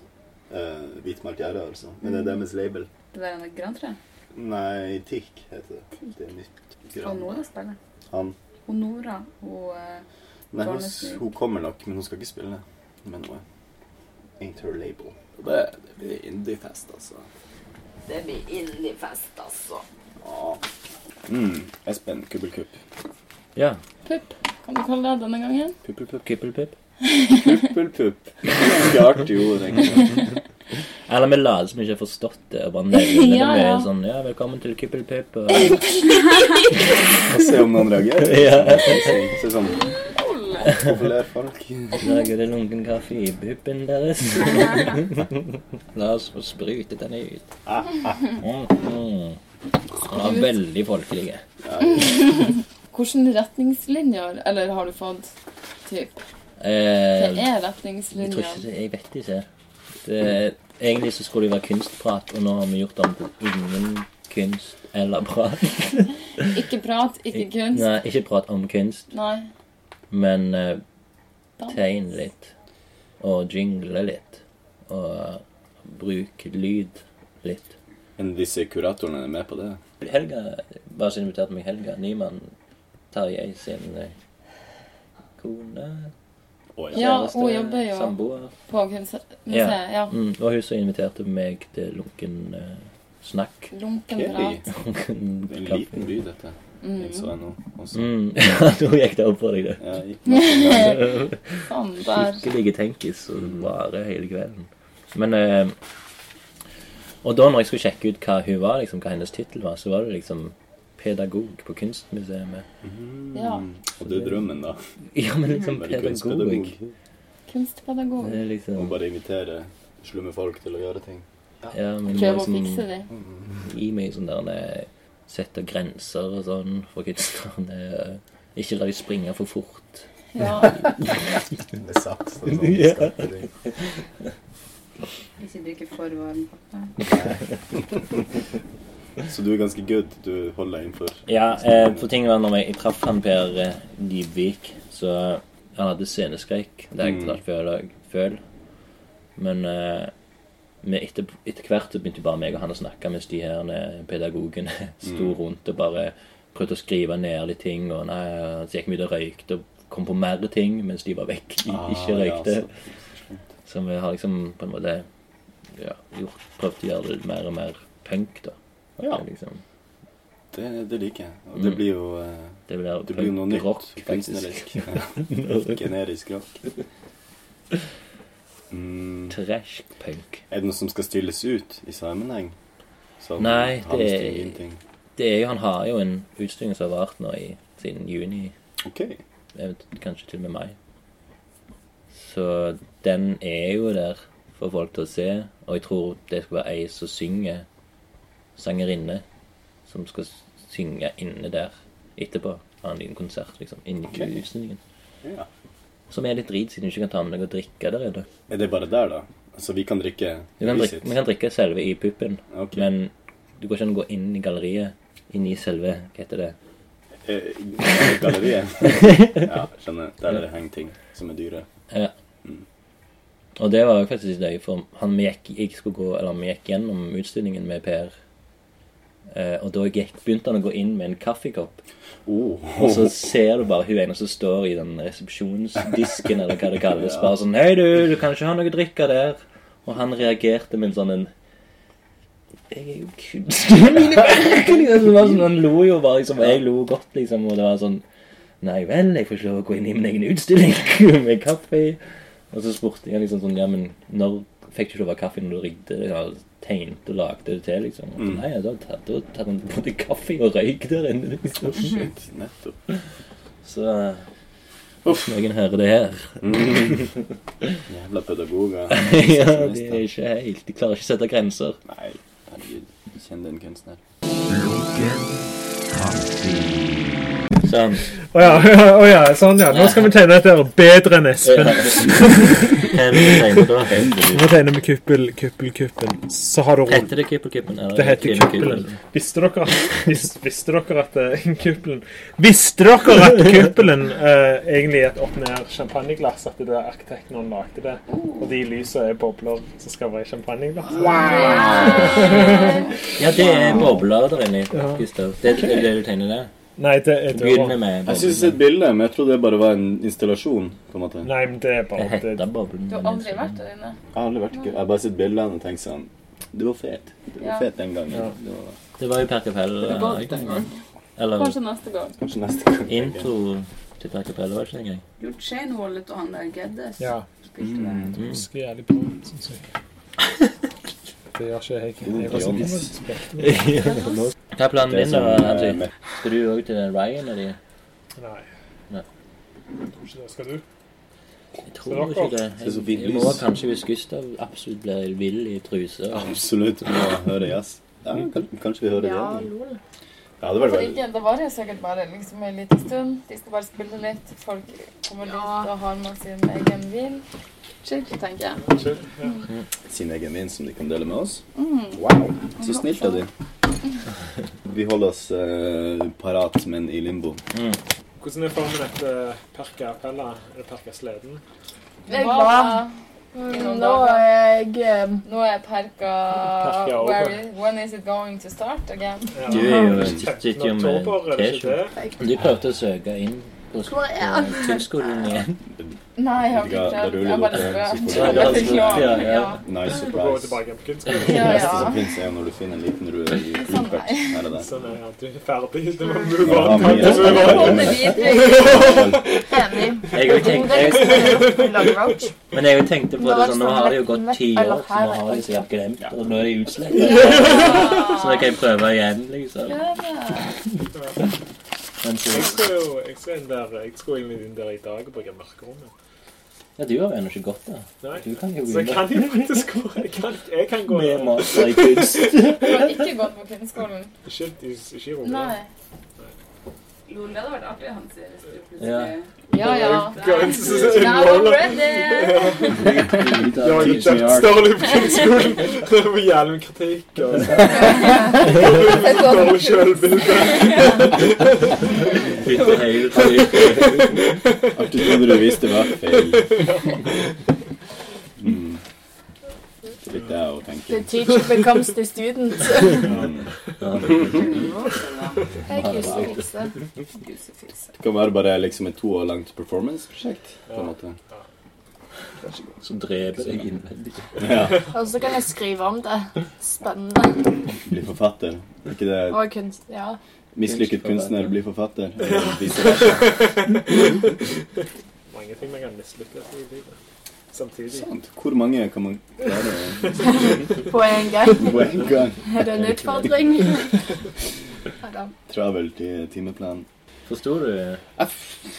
Speaker 4: Eh, Hvitmalt gjerde, altså. Men det er deres label.
Speaker 6: Det der er grantreet.
Speaker 4: Nei, TIRK heter det. Det er nytt.
Speaker 6: Og
Speaker 4: Gran.
Speaker 6: Nora spiller.
Speaker 4: Han
Speaker 6: Og Nora og eh,
Speaker 4: Nei, hun,
Speaker 6: Barnesnake.
Speaker 4: hun kommer nok, men hun skal ikke spille med noe. Ain't her label. Og Det, det blir indie-fest, altså.
Speaker 5: Det blir indie-fest, altså.
Speaker 4: Ah. Mm. Espen, kubbelkupp.
Speaker 7: Ja.
Speaker 8: Pupp. Kan du kalle det denne gangen?
Speaker 4: Puppelpupp.
Speaker 7: Kuppelpupp.
Speaker 4: Kuppelpupp. Ganske artig ord, egentlig.
Speaker 7: Eller vi later som vi ikke har forstått det. og bare nevner det
Speaker 8: Ja,
Speaker 7: med
Speaker 8: ja.
Speaker 7: sånn Ja, velkommen til Kuppelpupp. og-
Speaker 4: Og se om noen reagerer.
Speaker 7: Ja.
Speaker 4: Se sånn Hvorfor ler folk?
Speaker 7: Lager det lunken kaffe i puppen deres? La oss få sprute den ut. Mm. Den var veldig folkelige.
Speaker 8: Hvilke retningslinjer Eller har du fått typ? Hva
Speaker 7: Eh,
Speaker 8: er
Speaker 7: jeg tror ikke
Speaker 8: retningslinjer?
Speaker 7: det Jeg vet ikke. Det, egentlig så skulle det være kunstprat, og nå har vi gjort det om til ingen kunst eller prat.
Speaker 8: Ikke prat, ikke kunst.
Speaker 7: Nei, ikke prat om kunst,
Speaker 8: Nei.
Speaker 7: men eh,
Speaker 8: Dans.
Speaker 7: tegn litt. Og jingle litt. Og bruk lyd litt.
Speaker 4: Men disse kuratorene er med på det?
Speaker 7: Helga bare så inviterte meg Helga Nyman, Tarjei sin eh, kone
Speaker 4: Å ja.
Speaker 8: Ja, hun jobber jo.
Speaker 7: Samboer.
Speaker 8: På kunstmuseet. Ja.
Speaker 7: Mm, det var hun som inviterte meg til lunken eh, snakk.
Speaker 8: Lunken
Speaker 4: Hei.
Speaker 8: prat.
Speaker 7: Lunken
Speaker 4: Det er en Mm.
Speaker 7: kaffe.
Speaker 4: liten by, dette. Jeg så henne også.
Speaker 7: Mm. Ja, nå gikk det opp for deg, det.
Speaker 4: Ja, jeg gikk masse ganger.
Speaker 8: Sånn, der.
Speaker 7: Skikkelig tenkis og bare hele kvelden. Men eh, Og da når jeg skulle sjekke ut hva hun var, liksom, hva hennes tittel var, så var det liksom pedagog på Kunstmuseet.
Speaker 8: Ja.
Speaker 4: Og det er drømmen, da.
Speaker 7: Ja, men liksom
Speaker 4: Være
Speaker 7: pedagog.
Speaker 4: kunstpedagog.
Speaker 8: Kunstpedagog.
Speaker 7: Det er
Speaker 4: Og
Speaker 7: liksom
Speaker 4: bare invitere slumme folk til å gjøre ting.
Speaker 7: ja, men
Speaker 8: Prøve å
Speaker 7: liksom,
Speaker 10: sånn-
Speaker 8: fikse de.
Speaker 7: Gi meg sånn der eh, Sette grenser og sånn for kunstnerne. eh, Ikke la de springe for fort.
Speaker 8: Ja.
Speaker 9: Med sats og sånn. Yeah.
Speaker 5: Ikke drikke for varm kaffe.
Speaker 4: Så du er ganske good. Du holder deg innenfor.
Speaker 7: Ja, eh, for ting var når jeg, jeg traff han Per eh, Dybvik, så han hadde sceneskrekk. Det har jeg
Speaker 4: Mm.
Speaker 7: fortalt før i dag, føl. Men eh, vi etter, etter hvert så begynte bare meg og han å snakke mens de her eh, pedagogene sto
Speaker 4: Mm.
Speaker 7: rundt og bare prøvde å skrive ned litt ting. Og nei, så gikk vi ut og røykte og kom på mer ting mens de var vekk. De
Speaker 4: Ah,
Speaker 7: ikke røykte. Så vi har liksom på en måte ja, gjort, prøvd å gjøre det mer og mer punk, da. At
Speaker 4: Ja.
Speaker 7: det Liksom,
Speaker 4: Det, det liker jeg. Og det
Speaker 7: Mm.
Speaker 4: blir jo eh,
Speaker 7: det blir,
Speaker 4: Det blir jo noe nytt.
Speaker 7: rock,
Speaker 4: kunstnerisk.
Speaker 7: faktisk.
Speaker 4: Ja. Generisk rock. Mm.
Speaker 7: Trash punk.
Speaker 4: Er det noe som skal stilles ut i sammenheng? Som
Speaker 7: Nei,
Speaker 4: har
Speaker 7: det
Speaker 4: lyst til å
Speaker 7: er-
Speaker 4: gi en ting?
Speaker 7: Det er jo, han har jo en utstilling som har vart nå i, siden juni,
Speaker 4: OK.
Speaker 7: jeg vet, kanskje til og med mai. Så den er jo der for folk til å se, og jeg tror det skal være ei som synger, sangerinne, som skal s- synge inne der etterpå. Ha en liten konsert, liksom, inni
Speaker 4: Ok.
Speaker 7: utstillingen.
Speaker 4: Ja.
Speaker 7: Som er litt drit, siden du ikke kan ta med deg å drikke der. er det.
Speaker 4: Er det bare der, da? Altså, vi kan drikke
Speaker 7: Du kan
Speaker 4: vi
Speaker 7: drikke,
Speaker 4: sitt.
Speaker 7: vi kan drikke selve i puppen,
Speaker 4: Ok.
Speaker 7: men du går ikke an å gå inn i galleriet, inn i selve, hva heter det?
Speaker 4: Eh, Galleriet. ja, skjønner. Der er det henger ting som er dyre.
Speaker 7: Ja. Og det var jo faktisk litt løye, for han vi gikk, jeg skulle gå, eller vi gikk gjennom utstillingen med Per. Eh, og da gikk, begynte han å gå inn med en kaffekopp.
Speaker 4: Oh.
Speaker 7: Og så ser du bare hun ene som står i den resepsjonsdisken, eller hva det kalles. Bare sånn 'Hei, du, du kan ikke ha noe å drikke der.' Og han reagerte med en sånn en Jeg er jo kunstner, mine verk! Liksom, det var sånn, han lo jo bare, liksom. og Jeg lo godt, liksom. Og det var sånn Nei vel, jeg får ikke lov å gå inn i min egen utstilling med kaffe. Og så spurte jeg liksom sånn Ja, men når fikk du ikke lov å ha kaffe når du rigget det? eller Tegnte og lagde det til, liksom. Og så, Nei, ja, da tatt- da tatt han både kaffe og røyk der inne, liksom.
Speaker 4: oh, Shit, nettopp.
Speaker 7: Så Uff, noen hører det her.
Speaker 4: Jævla pedagoger.
Speaker 7: ja, de er ikke helt De klarer ikke å sette grenser.
Speaker 4: Nei, herregud. Kjenn den kunstner.
Speaker 1: Lunken kaffe.
Speaker 7: Sånn.
Speaker 10: Å ja, å ja, sånn ja. Nå skal vi tegne dette her bedre enn Espen.
Speaker 7: Endelig.
Speaker 10: Nå tegner vi kuppel, kuppel, kuppel. Så har du rundt.
Speaker 7: Heter det Kippelkippen? eller
Speaker 10: Det heter
Speaker 7: Kippel
Speaker 10: kuppelen.
Speaker 7: Kippelen?
Speaker 10: Visste dere at, vis, visste dere at eh, kuppelen Visste dere at kuppelen eh, egentlig er et opp-ned champagneglass? At det er arkitekten som lagde det? Og de lysa er bobler som skal være i champagneglass?
Speaker 7: Ja, det er bobler der inne. Gustav. Det er det, er det du tegner der?
Speaker 10: Nei, det er
Speaker 7: Du
Speaker 10: døra.
Speaker 7: begynner med
Speaker 4: Jeg syns det er
Speaker 7: boblen.
Speaker 4: et bilde, men jeg trodde det bare var en installasjon. på en måte.
Speaker 10: Nei, men det er
Speaker 7: Det
Speaker 10: bare det,
Speaker 7: heter boblen.
Speaker 6: Du har aldri vært der inne.
Speaker 4: Jeg har aldri vært ikke. Jeg har bare sett bildene og tenkt sånn Du var fet. Du var
Speaker 6: Ja.
Speaker 4: fet den gangen.
Speaker 10: Ja.
Speaker 4: Det var...
Speaker 7: Det var jo Per Kapell.
Speaker 6: Det var
Speaker 7: eh,
Speaker 6: ikke den gang.
Speaker 7: Eller
Speaker 8: Kanskje neste gang.
Speaker 4: Kanskje neste gang.
Speaker 7: intro til Per Kapell. Det var ikke det engang.
Speaker 5: Jo, Shane Wallet og han der Geddes
Speaker 10: Ja. Mm.
Speaker 5: spilte
Speaker 4: Mm.
Speaker 5: der.
Speaker 10: Det husker jævlig bra, syns jeg. Det gjør ikke jeg. Jeg var så god med spill.
Speaker 7: Hva er planen
Speaker 4: Det er
Speaker 7: din, da?
Speaker 4: sånn, eh,
Speaker 7: Andrew?
Speaker 4: med-
Speaker 7: Skal du òg til Ryan og de?
Speaker 10: Nei.
Speaker 7: Nei.
Speaker 10: Tror ikke det. Skal du?
Speaker 7: Jeg tror ikke det.
Speaker 4: Det er så
Speaker 7: Jeg,
Speaker 4: fint
Speaker 7: jeg må
Speaker 4: lys.
Speaker 7: kanskje hvis Gustav absolutt blir vill i truse. og-
Speaker 4: Absolutt. Vi må høre jazz. Ja, kan, kanskje vi hører
Speaker 6: Ja,
Speaker 4: det.
Speaker 6: lol.
Speaker 4: Ja, det var
Speaker 6: Hvorfor
Speaker 4: det veldig
Speaker 6: ikke? Det varer jo sikkert bare liksom en liten stund. De skal bare spille litt. Folk kommer dit og har med sin egen vin.
Speaker 8: Chill, tenker jeg.
Speaker 4: sin egen vin som de kan dele med oss.
Speaker 6: Mm.
Speaker 4: Wow, så snilt av de. Vi holder oss eh, parat, men i limbo.
Speaker 7: Mm.
Speaker 10: Hvordan er formen etter Perka Pella? Er det Perka Sleden?
Speaker 6: Jeg var
Speaker 8: Nå er jeg eh,
Speaker 6: Nå er perka
Speaker 10: Perka over.
Speaker 6: Where is, When is it going to start again?
Speaker 10: Ja.
Speaker 7: Du er jo- sitter jo
Speaker 10: 15.
Speaker 7: med
Speaker 10: oktober, er det ikke det?
Speaker 7: Du prøvde å søke inn på, på kunstskolen eh, igjen.
Speaker 6: Nei, jeg har
Speaker 4: Vet
Speaker 6: ikke
Speaker 4: ikke hva,
Speaker 6: prøvd.
Speaker 4: da ruller
Speaker 6: Jeg
Speaker 4: du
Speaker 6: bare
Speaker 4: opp her,
Speaker 6: prøvd.
Speaker 4: så
Speaker 6: Jeg
Speaker 4: får du-
Speaker 6: bare beklager,
Speaker 4: Ja, ja.
Speaker 6: ja.
Speaker 4: Nice
Speaker 10: Du går
Speaker 4: surprise.
Speaker 10: tilbake på kunstskolen.
Speaker 4: Det
Speaker 6: Ja,
Speaker 4: neste
Speaker 6: ja.
Speaker 4: som finnes, er når du finner en liten rue i Rupert. Her er det.
Speaker 10: Sånn er at du er ferdig. Det må move
Speaker 4: Ja,
Speaker 10: on.
Speaker 4: mye.
Speaker 10: Takk, move on.
Speaker 6: Kom det videre. Enig.
Speaker 7: Jeg òg tenkte, jeg- men jeg også tenkte på
Speaker 8: Da
Speaker 7: det
Speaker 8: var
Speaker 7: sånn,
Speaker 8: det
Speaker 7: nå
Speaker 8: sånn
Speaker 7: har det jo
Speaker 8: rett
Speaker 7: gått
Speaker 8: vekk,
Speaker 7: ti
Speaker 8: eller
Speaker 7: år, så nå
Speaker 8: her
Speaker 7: har
Speaker 8: vekk.
Speaker 7: jeg sikkert glemt det, og nå er det utslett. Så nå kan jeg prøve igjen, liksom. Men
Speaker 10: Jeg
Speaker 7: så,
Speaker 10: skal jo jeg skal inn der, jeg skal inn inn der i dag og bruke mørkerommet.
Speaker 7: ja, du har jo ennå ikke gått der.
Speaker 10: Nei.
Speaker 7: Du kan jo
Speaker 10: Så jeg
Speaker 7: begynne
Speaker 10: kan jo faktisk gå Jeg kan, jeg kan gå
Speaker 7: med master i kunst.
Speaker 6: Du har ikke gått på kunstskolen?
Speaker 10: Ikke, i- ikke i rommet.
Speaker 6: Nei.
Speaker 5: Lol, det hadde vært artig å ha en seriespil
Speaker 7: Ja.
Speaker 5: plutselig.
Speaker 6: Ja, ja.
Speaker 10: Gå inn, så- så-
Speaker 6: Now I'm ready!
Speaker 10: Jeg har jo kjøpt Stirling på kunstskolen med hjelmkritikk og dårlig sjølbilde.
Speaker 7: Bytte hele tiden.
Speaker 4: Alt du trodde du visste, var feil. Mm. Det er litt det jeg
Speaker 8: The
Speaker 4: tenker.
Speaker 8: teacher becomes the student.
Speaker 4: Mm.
Speaker 8: Jeg
Speaker 7: kusser,
Speaker 4: Det kan være bare liksom et to år langt performance-prosjekt. på en måte.
Speaker 7: Så dreper jeg deg innvendig.
Speaker 4: Ja,
Speaker 8: Og så kan jeg skrive om det. Spennende.
Speaker 4: Bli forfatter. Er ikke det
Speaker 8: Og kunst... Ja.
Speaker 4: mislykket kunstner bli forfatter? Eller vice versa.
Speaker 10: Mange ting man kan mislykkes i livet. Samtidig.
Speaker 4: Sant. Hvor mange kan man klare å-
Speaker 8: På en gang.
Speaker 4: på en gang?
Speaker 8: Er det en utfordring? Ja da.
Speaker 4: Travel til timeplan.
Speaker 7: Forstår du?
Speaker 4: Jeg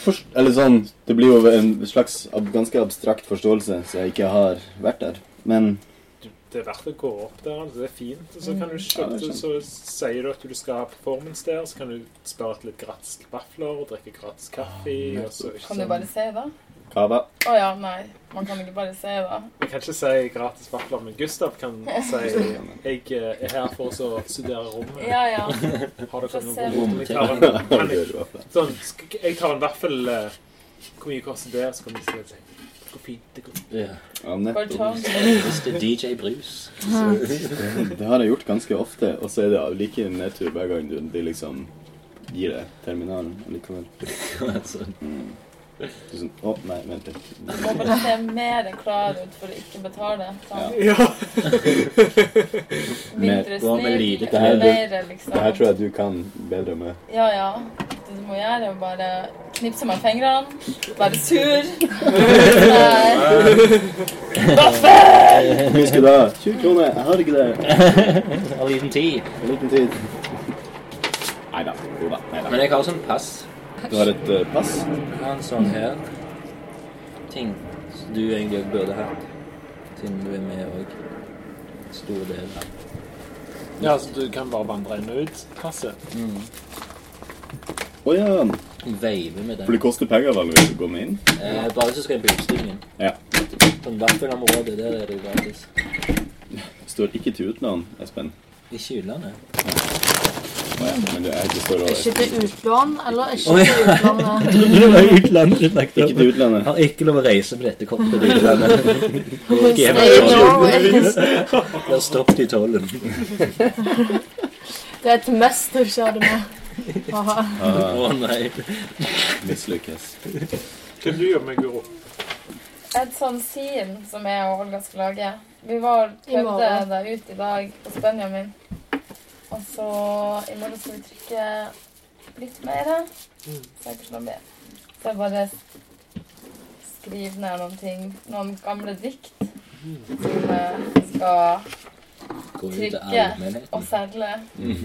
Speaker 4: forst... Eller sånn, det blir jo en slags ab ganske abstrakt forståelse, så jeg ikke har vært der. Men
Speaker 10: Du, det er verdt å gå opp der. altså, Det er fint. Og så kan du
Speaker 4: Mm. Ja, det er
Speaker 10: kjøpe, så sier du at du skal ha performance der, så kan du spare til litt gratis vafler og drikke gratis kaffe. og så, ikke
Speaker 6: Kan du
Speaker 10: sant?
Speaker 6: bare si det?
Speaker 4: Kava
Speaker 6: Å ja, nei. Man kan ikke bare si det.
Speaker 10: Jeg kan ikke si gratis vafler, men Gustav kan si jeg eh, er her for å studere rommet.
Speaker 6: Ja, ja.
Speaker 10: Har dere
Speaker 6: Få se.
Speaker 10: noe rom? Jeg tar en, kan jeg,
Speaker 4: Hva
Speaker 10: sånn, sk- jeg tar en vaffel eh, Hvor mye koster det? Så kan vi si det går fint. Det går
Speaker 7: Ja.
Speaker 6: Bare ta
Speaker 4: nettopp.
Speaker 6: den.
Speaker 7: Hvis det er DJ Brus.
Speaker 4: Det har jeg gjort ganske ofte, og så er det like nedtur hver gang du de liksom gir deg terminalen allikevel. Mm.
Speaker 7: Altså,
Speaker 4: Du er sånn Å, nei, vent litt.
Speaker 6: Må bare se mer enn klar ut for å ikke betale. Sånn.
Speaker 10: Ja.
Speaker 6: Mindre
Speaker 7: Gå med
Speaker 6: snill,
Speaker 7: lite
Speaker 4: klær.
Speaker 6: mer liksom.
Speaker 4: Det her tror jeg du kan bedre med.
Speaker 6: Ja, ja. Det du må gjøre, er å bare knipse med fingrene, være sur. Nei.
Speaker 4: Husker da 20 kroner. Jeg har ikke det.
Speaker 7: en liten tid.
Speaker 4: En liten tid. Nei da. Jo da. Nei da.
Speaker 7: Men jeg har sånn pass.
Speaker 4: Du har et eh, pass.
Speaker 7: Jeg har en sånn her. Ting som du egentlig også burde hatt. Siden du er med òg. Stor del.
Speaker 10: ja, så du kan bare vandre inn og ut. Passe.
Speaker 4: Å ja.
Speaker 7: Veive med
Speaker 4: For
Speaker 7: den.
Speaker 4: det koster penger vanligvis å gå med inn.
Speaker 7: Eh, bare hvis du skal inn på utstillingen.
Speaker 4: Ja.
Speaker 7: Sånn vaffelområde, der er det gratis.
Speaker 4: Står ikke til utlån, Espen.
Speaker 7: Ikke i utlandet.
Speaker 4: Å ja. Men det er ikke står over.
Speaker 8: Ikke til utlån, eller ikke
Speaker 7: Oi.
Speaker 8: til utlandet.
Speaker 7: Det var utlandet du snakket
Speaker 4: Ikke til utlandet.
Speaker 7: Har ikke lov å reise med dette kortet til utlandet.
Speaker 8: Stay
Speaker 7: Ikke.
Speaker 8: Norway.
Speaker 7: Blir stoppet i tollen.
Speaker 8: Det er et must du ikke hadde med. Haha.
Speaker 7: Å nei.
Speaker 4: Mislykkes.
Speaker 10: Hva du gjør med Guro?
Speaker 6: Edson Sien, sånn som jeg og Olga skal lage Vi var og
Speaker 8: I
Speaker 6: prøvde
Speaker 8: morgen.
Speaker 6: det ut i dag hos Benjamin. Og så i morgen skal vi trykke litt mer. Så jeg kan be. Så jeg bare skriver ned noen ting. Noen gamle dikt som jeg skal
Speaker 7: Gå ut til
Speaker 6: trykke og
Speaker 7: allmennheten.
Speaker 6: selge.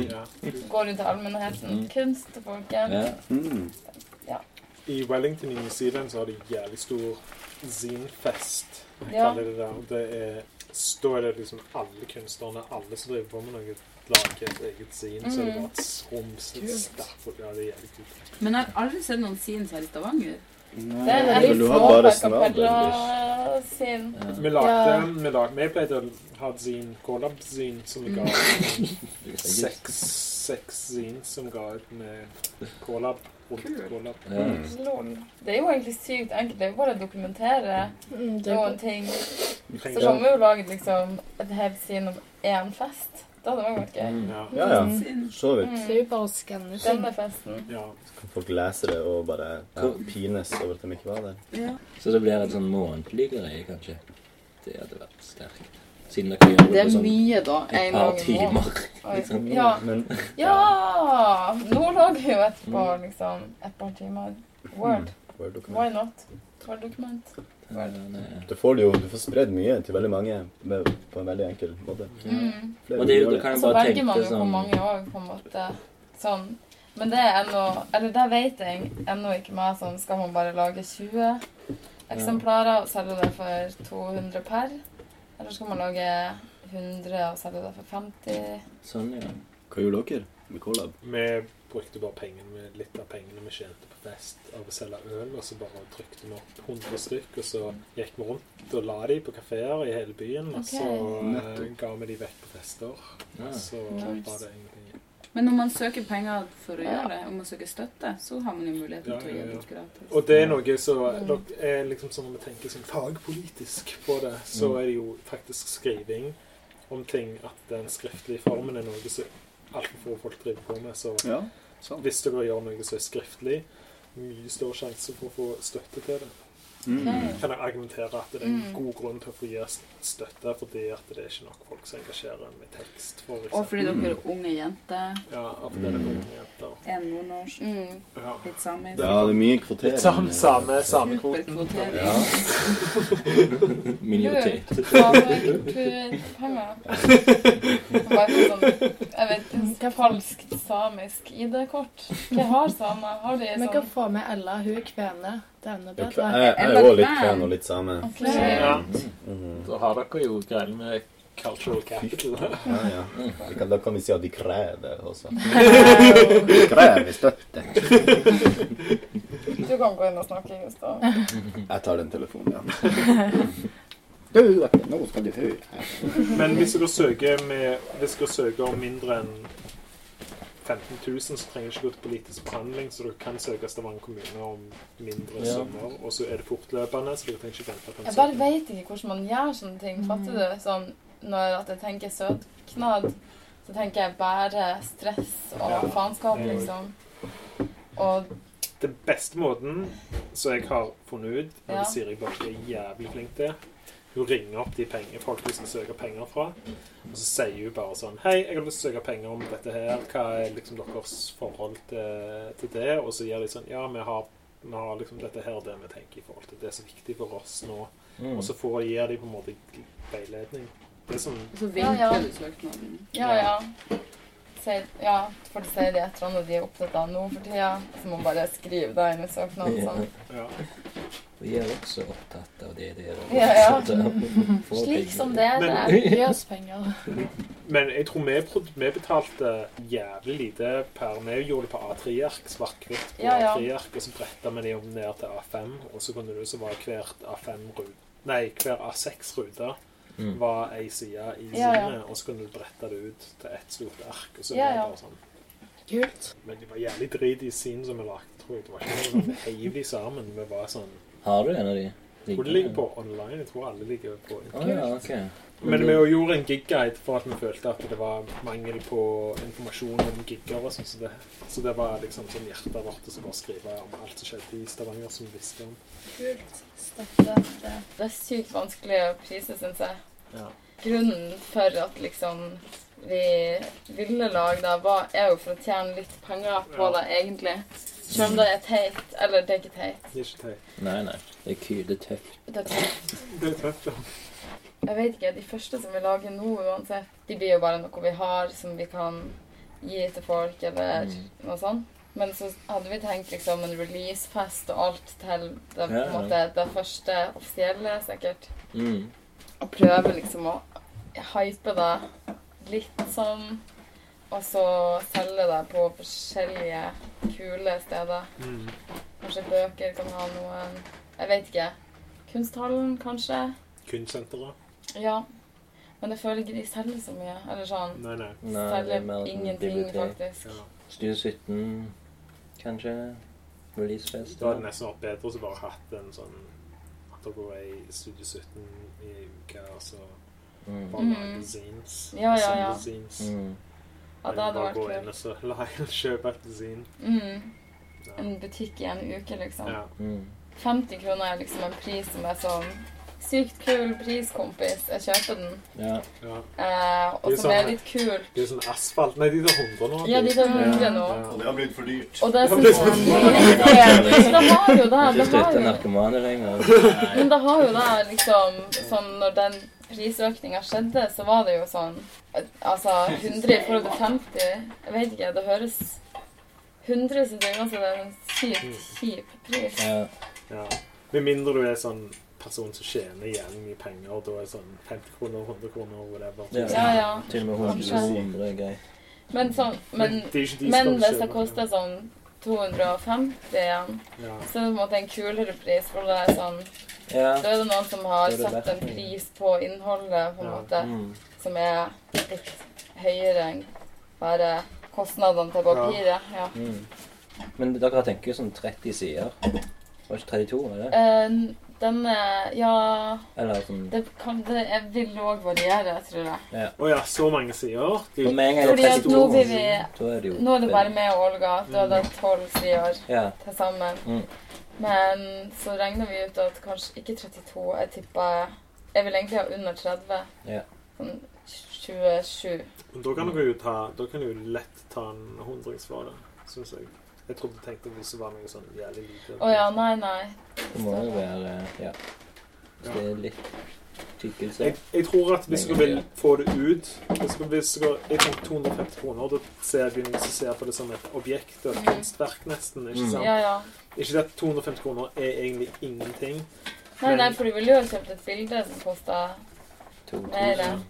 Speaker 10: Ja.
Speaker 6: Går ut til allmennheten.
Speaker 7: Mm.
Speaker 6: Kunst til folket.
Speaker 7: Ja.
Speaker 4: Mm.
Speaker 10: I Wellington i New Zealand så har de jævlig stor zinfest. Jeg
Speaker 6: Ja.
Speaker 10: kaller det der. Og det er, da er det liksom alle kunstnerne, alle som driver på med noe, lager et eget zin. Så er
Speaker 6: Mm.
Speaker 10: det bare et rom som er stappfullt. Ja, det er jævlig kult.
Speaker 5: Men jeg har aldri sett noen scenes her i Stavanger.
Speaker 4: Nei,
Speaker 6: Det er en
Speaker 4: vel,
Speaker 6: veldig
Speaker 4: du har
Speaker 6: små
Speaker 4: bare snabel.
Speaker 6: Capella sin.
Speaker 10: Vi lagde, vi lagde, vi pleide å ha zin, collab-zin, som
Speaker 6: Mm.
Speaker 10: vi ga seks, seks zin som ga ut med collab. Rundt collab.
Speaker 7: Ja.
Speaker 6: Lol. Det er jo egentlig sykt enkelt. Det er jo bare å dokumentere
Speaker 8: Mm, det er
Speaker 6: noen
Speaker 8: godt.
Speaker 6: ting.
Speaker 10: Vi
Speaker 6: Så
Speaker 10: trenger
Speaker 6: kan vi jo lage liksom et helt syn om én fest. Det hadde vært gøy. Mm.
Speaker 4: Ja, ja.
Speaker 5: Mm.
Speaker 4: Så vidt.
Speaker 8: Mm. Det er jo bare å skanne ting.
Speaker 6: Denne festen.
Speaker 4: Folk leser det og bare ja, pines over at de ikke var der.
Speaker 7: Så det blir en sånn månedlig greie, kanskje. Det hadde vært sterkt. Siden dere gjør
Speaker 5: Det
Speaker 7: det
Speaker 5: er
Speaker 7: på sånn
Speaker 5: mye, da.
Speaker 7: et
Speaker 5: En
Speaker 7: par
Speaker 5: gang i måneden.
Speaker 7: timer.
Speaker 6: Oi.
Speaker 7: Liksom.
Speaker 6: Ja.
Speaker 4: Mm, Men
Speaker 6: Ja! Nå lager jo et par,
Speaker 7: Mm.
Speaker 6: liksom, et par timer. Word. Why not? Word-dokument.
Speaker 7: Ja, nei.
Speaker 4: du får det jo, du får spredd mye til veldig mange med, på en veldig enkel måte.
Speaker 6: Mm.
Speaker 4: Flere
Speaker 7: Og det,
Speaker 4: gjør
Speaker 7: da kan jeg
Speaker 6: Så
Speaker 7: bare
Speaker 6: velger man jo
Speaker 7: tenke
Speaker 6: hvor
Speaker 7: sånn
Speaker 6: mange òg, på en måte. Sånn. Men det er ennå Eller det vet jeg ennå ikke mer sånn Skal man bare lage 20 eksemplarer og selge det for 200 per? Eller skal man lage 100 og selge det for 50?
Speaker 7: Sånn, ja.
Speaker 4: Hva gjorde dere med collab?
Speaker 10: Vi brukte bare pengene, litt av pengene vi tjente på fest av å selge øl, og så bare trykte vi opp 100 stykk, og så gikk vi rundt og la de på kafeer i hele byen, og så eh,
Speaker 4: Nettopp.
Speaker 10: ga vi de vekk på fester.
Speaker 7: Ja.
Speaker 10: Så
Speaker 5: Nice.
Speaker 10: var det egentlig
Speaker 5: Men når man søker penger for å gjøre det, om man søker støtte, så har man jo muligheten
Speaker 10: Ja,
Speaker 5: til å
Speaker 10: ja,
Speaker 5: gjøre
Speaker 10: ja.
Speaker 5: det gratis.
Speaker 10: Og det er noe som dere er liksom sånn Når vi tenker sånn fagpolitisk på det, så er det jo faktisk skriving om ting at den skriftlige formen er noe som altfor få folk driver på med. Så
Speaker 4: Ja, sant.
Speaker 10: hvis dere gjør noe som er skriftlig, mye større sjanse for å få støtte til det.
Speaker 4: Mm.
Speaker 10: Kan jeg argumentere at det er
Speaker 5: Mm.
Speaker 10: en god grunn til å få gi støtte, fordi at det er ikke nok folk som engasjerer med tekst, for
Speaker 5: Og
Speaker 10: eksempel.
Speaker 5: fordi dere er unge jenter,
Speaker 10: Ja, at det er noen jenter.
Speaker 5: en nordnorsk,
Speaker 6: Mm.
Speaker 10: Ja.
Speaker 5: litt samisk.
Speaker 4: Ja, det er mye kvotering.
Speaker 5: Superkvotering.
Speaker 7: Minoritet.
Speaker 6: Samekulturpenger. sånn, Jeg vet ikke Falskt samisk ID-kort. Hva har samer? Har de
Speaker 8: Vi kan
Speaker 6: sånn
Speaker 8: få med Ella. Hun er kvene. Det er enda
Speaker 4: Jeg, jeg,
Speaker 8: bedre.
Speaker 4: jeg er òg litt kven og litt same.
Speaker 6: Ok.
Speaker 4: Mm.
Speaker 10: Da har dere jo greiene med cultural capital.
Speaker 4: Ja, ja. Vi kan, da kan vi si at vi krever det også. Vi krever støtte.
Speaker 6: Du kan gå inn og snakke, Gustav.
Speaker 4: Jeg tar den telefonen, ja. Du, ok, nå skal du høre.
Speaker 10: Men hvis dere søker, med, hvis dere søker om mindre enn 15 000, så trenger dere ikke gå til politisk behandling, så dere kan søke Stavanger kommune om mindre
Speaker 7: Ja.
Speaker 10: summer. Og så er det fortløpende, så dere trenger ikke vente på
Speaker 6: Jeg bare vet ikke hvordan man gjør sånne ting. Fatter du? Sånn, når at jeg tenker søtknad, så tenker jeg bare stress og
Speaker 10: Ja.
Speaker 6: faenskap, liksom. Og
Speaker 10: Den beste måten som jeg har funnet ut, og
Speaker 6: Ja.
Speaker 10: det Siri Børke er jævlig flink til Hun ringer opp de penger, folk hun skal søke penger fra, og så sier hun bare sånn Hei, jeg har lyst til å søke penger om dette her. Hva er liksom deres forhold til, til det? Og så gjør de sånn Ja, vi har, vi har liksom dette her, det vi tenker i forhold til det som er viktig for oss nå.
Speaker 7: Mm.
Speaker 10: Og så får, gir de på en måte veiledning. Det er sånn
Speaker 5: Og så
Speaker 6: Ja,
Speaker 5: vinker
Speaker 6: ja.
Speaker 5: du søknaden.
Speaker 6: ja, ja. Sier- ja, for de sier det et eller annet de er opptatt av nå for tida. Så må man bare skrive det inn i søknaden. Sånn.
Speaker 10: Ja.
Speaker 7: Vi er også opptatt av det dere
Speaker 6: Ja, ja.
Speaker 7: Få
Speaker 6: Slik som
Speaker 7: penger.
Speaker 6: det er.
Speaker 10: Men-
Speaker 6: det.
Speaker 8: Gi oss penger.
Speaker 10: Men jeg tror vi, prod- vi betalte jævlig lite per Vi gjorde det på A3-ark, svart-hvitt på
Speaker 6: Ja, ja.
Speaker 10: A3-ark, og så bretta vi de om ned til A5, og så kunne du så var hvert A5-rute Nei, hver A6-rute
Speaker 7: Mm.
Speaker 10: var ei side i
Speaker 6: Ja, ja.
Speaker 10: synet, og så kunne du brette det ut til ett stort ark, og så
Speaker 6: Ja,
Speaker 10: var det
Speaker 6: ja.
Speaker 10: bare sånn.
Speaker 8: Kult.
Speaker 10: Men det var jævlig drit i syn som vi lagde, tror jeg. Det var ikke noe sånn, Vi heiv de sammen. Vi var sånn
Speaker 7: Har du en av de?
Speaker 10: Hvor det ligger på online? Jeg tror alle ligger på
Speaker 7: Å ja, ok.
Speaker 10: Men
Speaker 5: Mm.
Speaker 10: vi gjorde en gigguide for at vi følte at det var mangel på informasjon om gigger. og sånn som det. Så det var liksom sånn hjertet vårt som bare skrive om alt som skjedde i Stavanger, som vi visste om.
Speaker 8: Kult. Støtte det.
Speaker 6: Det er sykt vanskelig å prise, syns jeg.
Speaker 10: Ja.
Speaker 6: grunnen for at liksom vi ville lage det, var, er jo for å tjene litt penger på
Speaker 10: Ja.
Speaker 6: det, egentlig. Selv om det er teit. Eller det er ikke teit.
Speaker 10: Det er ikke teit.
Speaker 7: Nei, nei. Det er kult. Det er tøft.
Speaker 6: Det er teit.
Speaker 10: Det er tøft, ja.
Speaker 6: Jeg vet ikke, De første som vi lager nå, uansett, de blir jo bare noe vi har som vi kan gi til folk, eller
Speaker 7: Mm.
Speaker 6: noe sånt. Men så hadde vi tenkt liksom en releasefest og alt til det, på
Speaker 7: Ja,
Speaker 6: en
Speaker 7: ja.
Speaker 6: måte, det første offisielle, sikkert.
Speaker 7: Mm.
Speaker 6: og prøve liksom å hype det litt sånn. Og så selge det på forskjellige kule steder.
Speaker 10: Mm.
Speaker 6: Kanskje bøker kan ha noen Jeg vet ikke. Kunsthallen, kanskje?
Speaker 10: Kunstsenteret?
Speaker 6: Ja. Men jeg føler ikke de selger så mye. Eller sånn.
Speaker 10: Nei, nei.
Speaker 7: Nei, det er mer
Speaker 6: Selger
Speaker 7: sånn
Speaker 6: ingenting,
Speaker 7: bibliotek.
Speaker 6: faktisk.
Speaker 10: Ja.
Speaker 7: Studio 17, kanskje? Releasefest?
Speaker 10: Da hadde det nesten vært bedre å bare hatt en sånn At dere var i Studio 17 i ei uke, og så Bare
Speaker 5: Mm.
Speaker 10: lage zines.
Speaker 5: Ja, ja, ja.
Speaker 10: Samle zines.
Speaker 5: Mm. Ja, det hadde
Speaker 10: Bare
Speaker 5: vært
Speaker 10: gå
Speaker 5: kult.
Speaker 10: inn og så lage- kjøpe et zine.
Speaker 5: Mm. En butikk i en uke, liksom.
Speaker 10: Ja.
Speaker 5: 50 kroner er liksom en pris som er sånn Sykt kul pris, kompis. Jeg kjøper den.
Speaker 10: Ja. ja.
Speaker 5: Eh, og
Speaker 10: Det er
Speaker 5: som er
Speaker 10: sånn-
Speaker 5: litt kkult.
Speaker 10: Det er sånn asfalt. Nei, de tar 100 nå.
Speaker 5: Ja, de tar 100 nå.
Speaker 10: Ja.
Speaker 4: Det har blitt for dyrt.
Speaker 5: Og det sånn
Speaker 10: Ja,
Speaker 5: som
Speaker 10: det sånn- er så-
Speaker 5: Men det har jo det.
Speaker 7: Ikke
Speaker 5: det har
Speaker 7: støtte
Speaker 5: jo.
Speaker 7: narkomane lenger.
Speaker 5: Men det har jo det, liksom Som når den prisøkninga skjedde, så var det jo sånn eh, Altså 100 i forhold til 50 Jeg vet ikke, det høres 100 så det er altså det er en sykt kjip pris.
Speaker 10: Ja. Med mindre du er sånn person som tjener jævlig mye penger, og da er det sånn 50 kroner, 100 kroner, whatever.
Speaker 7: Ja.
Speaker 5: Ja, ja.
Speaker 7: Til og med
Speaker 5: Kanskje.
Speaker 7: 100, 100 er grei.
Speaker 5: Men, sånn, men,
Speaker 10: Men det er ikke de som
Speaker 5: men
Speaker 10: skal
Speaker 5: hvis det
Speaker 10: kjøpe,
Speaker 5: koster sånn 250 igjen,
Speaker 10: Ja.
Speaker 5: så er det på en måte en kulere pris. For det er sånn
Speaker 7: Ja.
Speaker 5: Da er det noen som har
Speaker 7: Da er det
Speaker 5: satt en
Speaker 7: verdt.
Speaker 5: pris på innholdet, på en
Speaker 7: Ja.
Speaker 5: måte,
Speaker 7: Mm.
Speaker 5: som er litt høyere enn bare kostnadene til papiret. Ja.
Speaker 7: Mm. Men dere tenker jo sånn 30 sider. Var ikke 32, var det?
Speaker 5: Eh, den er Ja
Speaker 7: Eller sånn
Speaker 5: Det, kan, det er- vil òg variere, tror jeg.
Speaker 7: Ja.
Speaker 10: Å ja, så mange sider. De,
Speaker 7: For meg
Speaker 5: Fordi at nå blir vi
Speaker 7: Da er det jo
Speaker 5: Nå er det bare meg og Olga. Da er det tolv sider
Speaker 7: Ja.
Speaker 5: til sammen.
Speaker 7: Mm.
Speaker 5: Men så regner vi ut at kanskje ikke 32. Jeg tipper Jeg vil egentlig ha under 30.
Speaker 10: Ja.
Speaker 5: Sånn 27.
Speaker 10: Men Mm. da kan dere jo ta Da kan dere jo lett ta en hundrings for det, syns jeg. Jeg trodde du tenkte hvis det var noe sånn jævlig lite.
Speaker 5: Å ja, nei, nei.
Speaker 7: Det må jo være Ja. Så det er litt tykkelse.
Speaker 10: Jeg, jeg tror at hvis dere vil få det ut hvis dere, hvis dere, Jeg tenkte 250 kroner. Da ser jeg begynner å se på det som et objekt og et kunstverk, nesten. Ikke
Speaker 7: Mm.
Speaker 10: sant?
Speaker 5: Ja, ja.
Speaker 10: Ikke det at 250 kroner er egentlig ingenting.
Speaker 5: Nei,
Speaker 10: men-
Speaker 5: nei, for du ville jo ha kjøpt et bilde som kosta mer.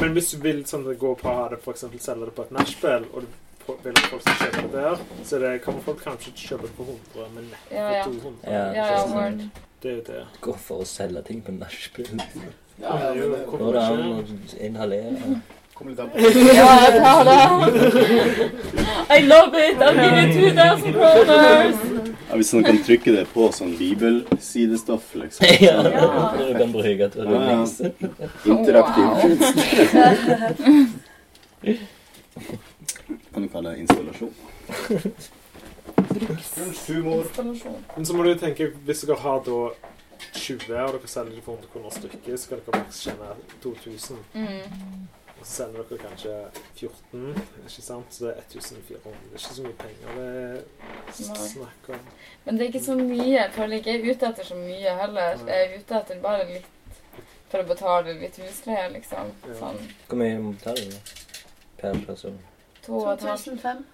Speaker 10: Men hvis du vil sånn, gå på å ha det, for eksempel, selge det på et nachspiel, og du på- vil at folk skal kjøpe det der, så det kommer folk kanskje til å kjøpe det på 100, men nettopp
Speaker 5: Ja, ja.
Speaker 10: 200.
Speaker 7: Ja, Ja, ja, sant.
Speaker 10: Det er jo det.
Speaker 7: Gå for å selge ting på nachspiel.
Speaker 10: Ja, ja, men det-
Speaker 7: Går det an å inhalere?
Speaker 11: Kommer litt an på
Speaker 5: Ja, jeg tar det. I love it! I'll give you 2000 kroners!
Speaker 4: Ja, hvis man kan trykke det på sånn bibelsidestoff, liksom.
Speaker 7: Ja, det du kan bruke til undervisning.
Speaker 4: Interaktiv
Speaker 7: Wow.
Speaker 4: kunst. kan du kalle det installasjon?
Speaker 10: Men så må du tenke, hvis dere har da 20, og dere selger det for 100 kroner stykket, så kan dere maks tjene 2000.
Speaker 5: Mm.
Speaker 10: Og så selger dere kanskje 14, ikke sant? Så det er 1400. Det er ikke så mye penger det er
Speaker 5: Nei.
Speaker 10: snakk om.
Speaker 5: Men det er ikke så mye. Jeg føler ikke jeg er ute etter så mye heller. Jeg er ute etter bare litt for å betale litt husleie, liksom. Sånn
Speaker 7: Hvor mye må du ta det da? per person?
Speaker 5: to og et halvt.
Speaker 8: 2005.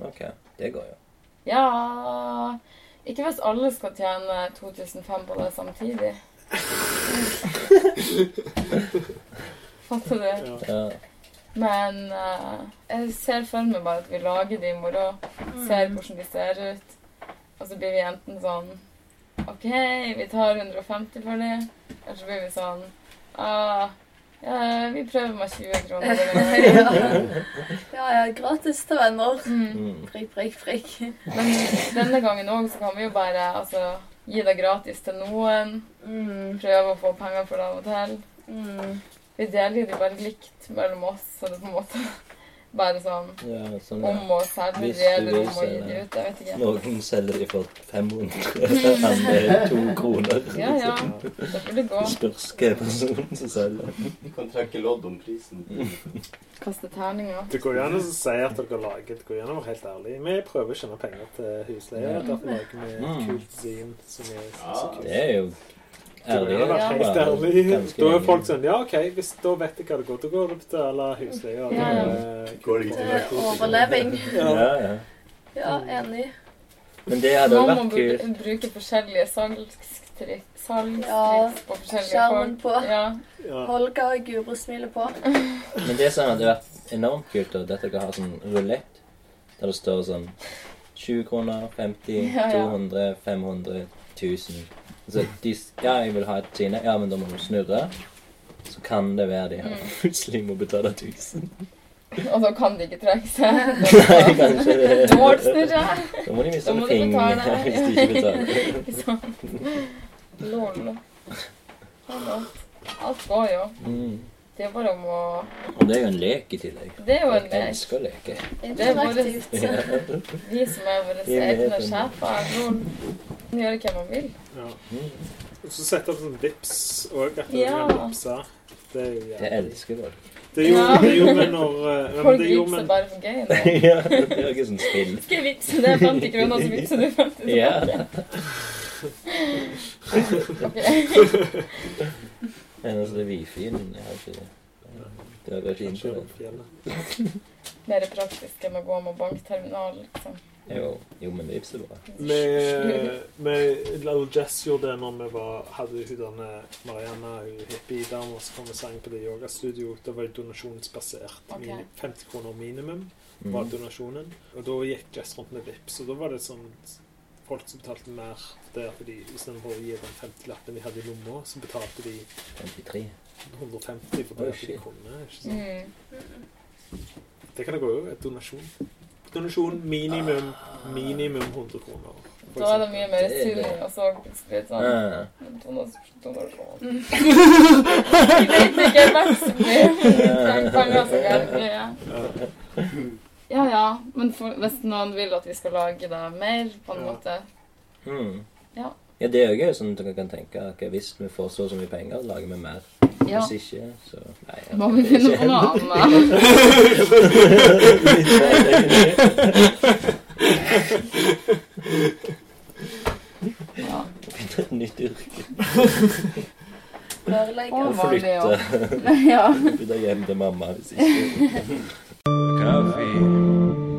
Speaker 7: OK, det går jo.
Speaker 5: Ja Ikke hvis alle skal tjene 2005 på det samtidig. Fatter du?
Speaker 7: Ja.
Speaker 5: Men eh, jeg ser for meg bare at vi lager de i morgen. Ser hvordan de ser ut. Og så blir vi enten sånn OK, vi tar 150 for de. Eller så blir vi sånn ah, ja, Vi prøver med 20 kroner.
Speaker 8: Ja, ja, gratis til venner.
Speaker 7: mm.
Speaker 8: Prikk, prikk, prikk.
Speaker 5: Mm. Men denne gangen òg så kan vi jo bare altså, gi det gratis til noen.
Speaker 8: Mm.
Speaker 5: Prøve å få penger for det av og til. Vi deler jo det bare likt mellom oss, så det er på en måte bare sånn
Speaker 7: Ja, sånn, ja.
Speaker 5: om å selge
Speaker 7: Hvis
Speaker 5: det,
Speaker 7: du
Speaker 5: eller
Speaker 7: vil
Speaker 5: om å gi
Speaker 7: selge.
Speaker 5: det ut. Jeg vet ikke.
Speaker 7: Noen selger de for 500, andre to kroner.
Speaker 5: Ja, ja. Da får det gå.
Speaker 7: Spørs hvilken person som selger.
Speaker 4: Du kan trekke lodd om prisen.
Speaker 5: Kaste terninger.
Speaker 10: Det går jo an å si at dere lager Det går jo an å være helt ærlig. Vi prøver å tjene penger til husleie.
Speaker 7: Ja.
Speaker 10: Derfor lager vi et
Speaker 7: Mm.
Speaker 10: kult zin som er så kult.
Speaker 7: Det er jo
Speaker 10: Det går
Speaker 7: ærlig.
Speaker 10: jo an å være helt
Speaker 7: bare
Speaker 10: ærlig.
Speaker 7: ganske
Speaker 10: Da er
Speaker 7: ærlig.
Speaker 10: folk sånn Ja, OK, hvis, da vet jeg hva det går til. Da går det til å betale husleie. og
Speaker 8: Ja, ja.
Speaker 10: da, eh,
Speaker 4: Går det
Speaker 8: ikke til narkotika? Overleving.
Speaker 7: Ja, ja.
Speaker 8: Ja, enig.
Speaker 7: Men det hadde
Speaker 5: Man må
Speaker 7: vært
Speaker 5: bru-
Speaker 7: kult.
Speaker 5: bruke forskjellige salgstriks salgstriks
Speaker 8: Ja,
Speaker 5: på forskjellige
Speaker 8: Skjermen på.
Speaker 5: Ja.
Speaker 8: Holga og Guro smiler på.
Speaker 7: Men det som hadde vært enormt kult, da, det at dere har sånn rulett der det står sånn 20 kroner, 50,
Speaker 5: Ja, ja.
Speaker 7: 200, 500, 1000. Så Altså, de, s- ja, jeg vil ha et sine. Ja, men da må du snurre. Så kan det være de her
Speaker 5: Mm.
Speaker 7: plutselig må betale 1000.
Speaker 5: Og da kan de ikke trekke seg.
Speaker 7: Nei, kanskje det.
Speaker 5: Da må det snurre.
Speaker 7: Da må de miste
Speaker 5: Da må
Speaker 7: alle pengene
Speaker 5: betale.
Speaker 7: hvis de ikke betaler.
Speaker 5: Ikke sant? Lol. Alt- Alt går jo.
Speaker 7: Mm.
Speaker 5: Det er bare om å
Speaker 7: Og det er jo en lek i tillegg.
Speaker 5: Det er jo en
Speaker 7: Jeg
Speaker 5: lek.
Speaker 7: elsker å leke.
Speaker 5: Det er bare
Speaker 7: Ja.
Speaker 5: vi som er våre egne sjefer. Noen gjør hva man vil.
Speaker 10: Ja. Og så sette opp sånn vips òg. At
Speaker 5: Ja.
Speaker 10: du kan vipse. Det er jo jævlig.
Speaker 7: Jeg elsker det.
Speaker 10: Det gjorde det gjorde vi når eh, ja, men
Speaker 5: Folk
Speaker 10: det gjorde
Speaker 5: vipser
Speaker 10: vi-
Speaker 5: bare for gøy.
Speaker 7: ja, det er jo ikke sånn spill.
Speaker 5: Skal jeg vipse? Det er 50 kroner, så vipser du 50
Speaker 7: Ja.
Speaker 5: Ok.
Speaker 7: Eneste altså, det er wifi-en. Jeg har ikke det. Det er ikke internett.
Speaker 5: Mer praktisk enn å gå med bankterminal, liksom.
Speaker 7: Jo, jo, men vips er bra.
Speaker 10: Vi, vi, Little Jess gjorde det når vi var, hadde hun denne Marianne, hun hippie-dama, så kom vi sang på det yogastudio. Det var jo donasjonsbasert.
Speaker 5: Ok.
Speaker 10: Min- 50 kroner minimum
Speaker 7: Mhm.
Speaker 10: var donasjonen. Og da gikk Jess rundt med VIPs, og da var det sånn folk som betalte mer der fordi istedenfor å gi den 50-lappen de hadde i lomma, så betalte de
Speaker 7: 53.
Speaker 10: 150 for
Speaker 7: Oi,
Speaker 10: det at de
Speaker 7: shit.
Speaker 10: kunne. Ikke sant? Det kan det gå jo. Et donasjon. Donasjon minimum
Speaker 7: Ah.
Speaker 10: minimum 100 kroner. for
Speaker 5: Da er det
Speaker 10: eksempel.
Speaker 5: mye mer sunn, og så plutselig litt
Speaker 7: Ja.
Speaker 5: sånn Donald- Donald Trump. Jeg vet ikke hvem som blir trenger penger så gærent. Ja. ja ja, men for, hvis noen vil at vi skal lage det mer, på en måte
Speaker 7: Mm.
Speaker 5: Ja.
Speaker 7: Ja, det er jo gøy, sånn at dere kan tenke ok, hvis vi får så og så mye penger, lager vi mer.
Speaker 5: Ja.
Speaker 7: Hvis ikke, så Nei. jeg
Speaker 5: Må vi
Speaker 7: vet
Speaker 5: finne
Speaker 7: ikke.
Speaker 5: på noe annet? Ja.
Speaker 7: Finne et nytt yrke.
Speaker 5: Rørlegger.
Speaker 7: Og
Speaker 5: Var det jo.
Speaker 7: flytte.
Speaker 5: Ja.
Speaker 7: Flytte hjem til mamma hvis ikke.
Speaker 2: Coffee. uh, uh,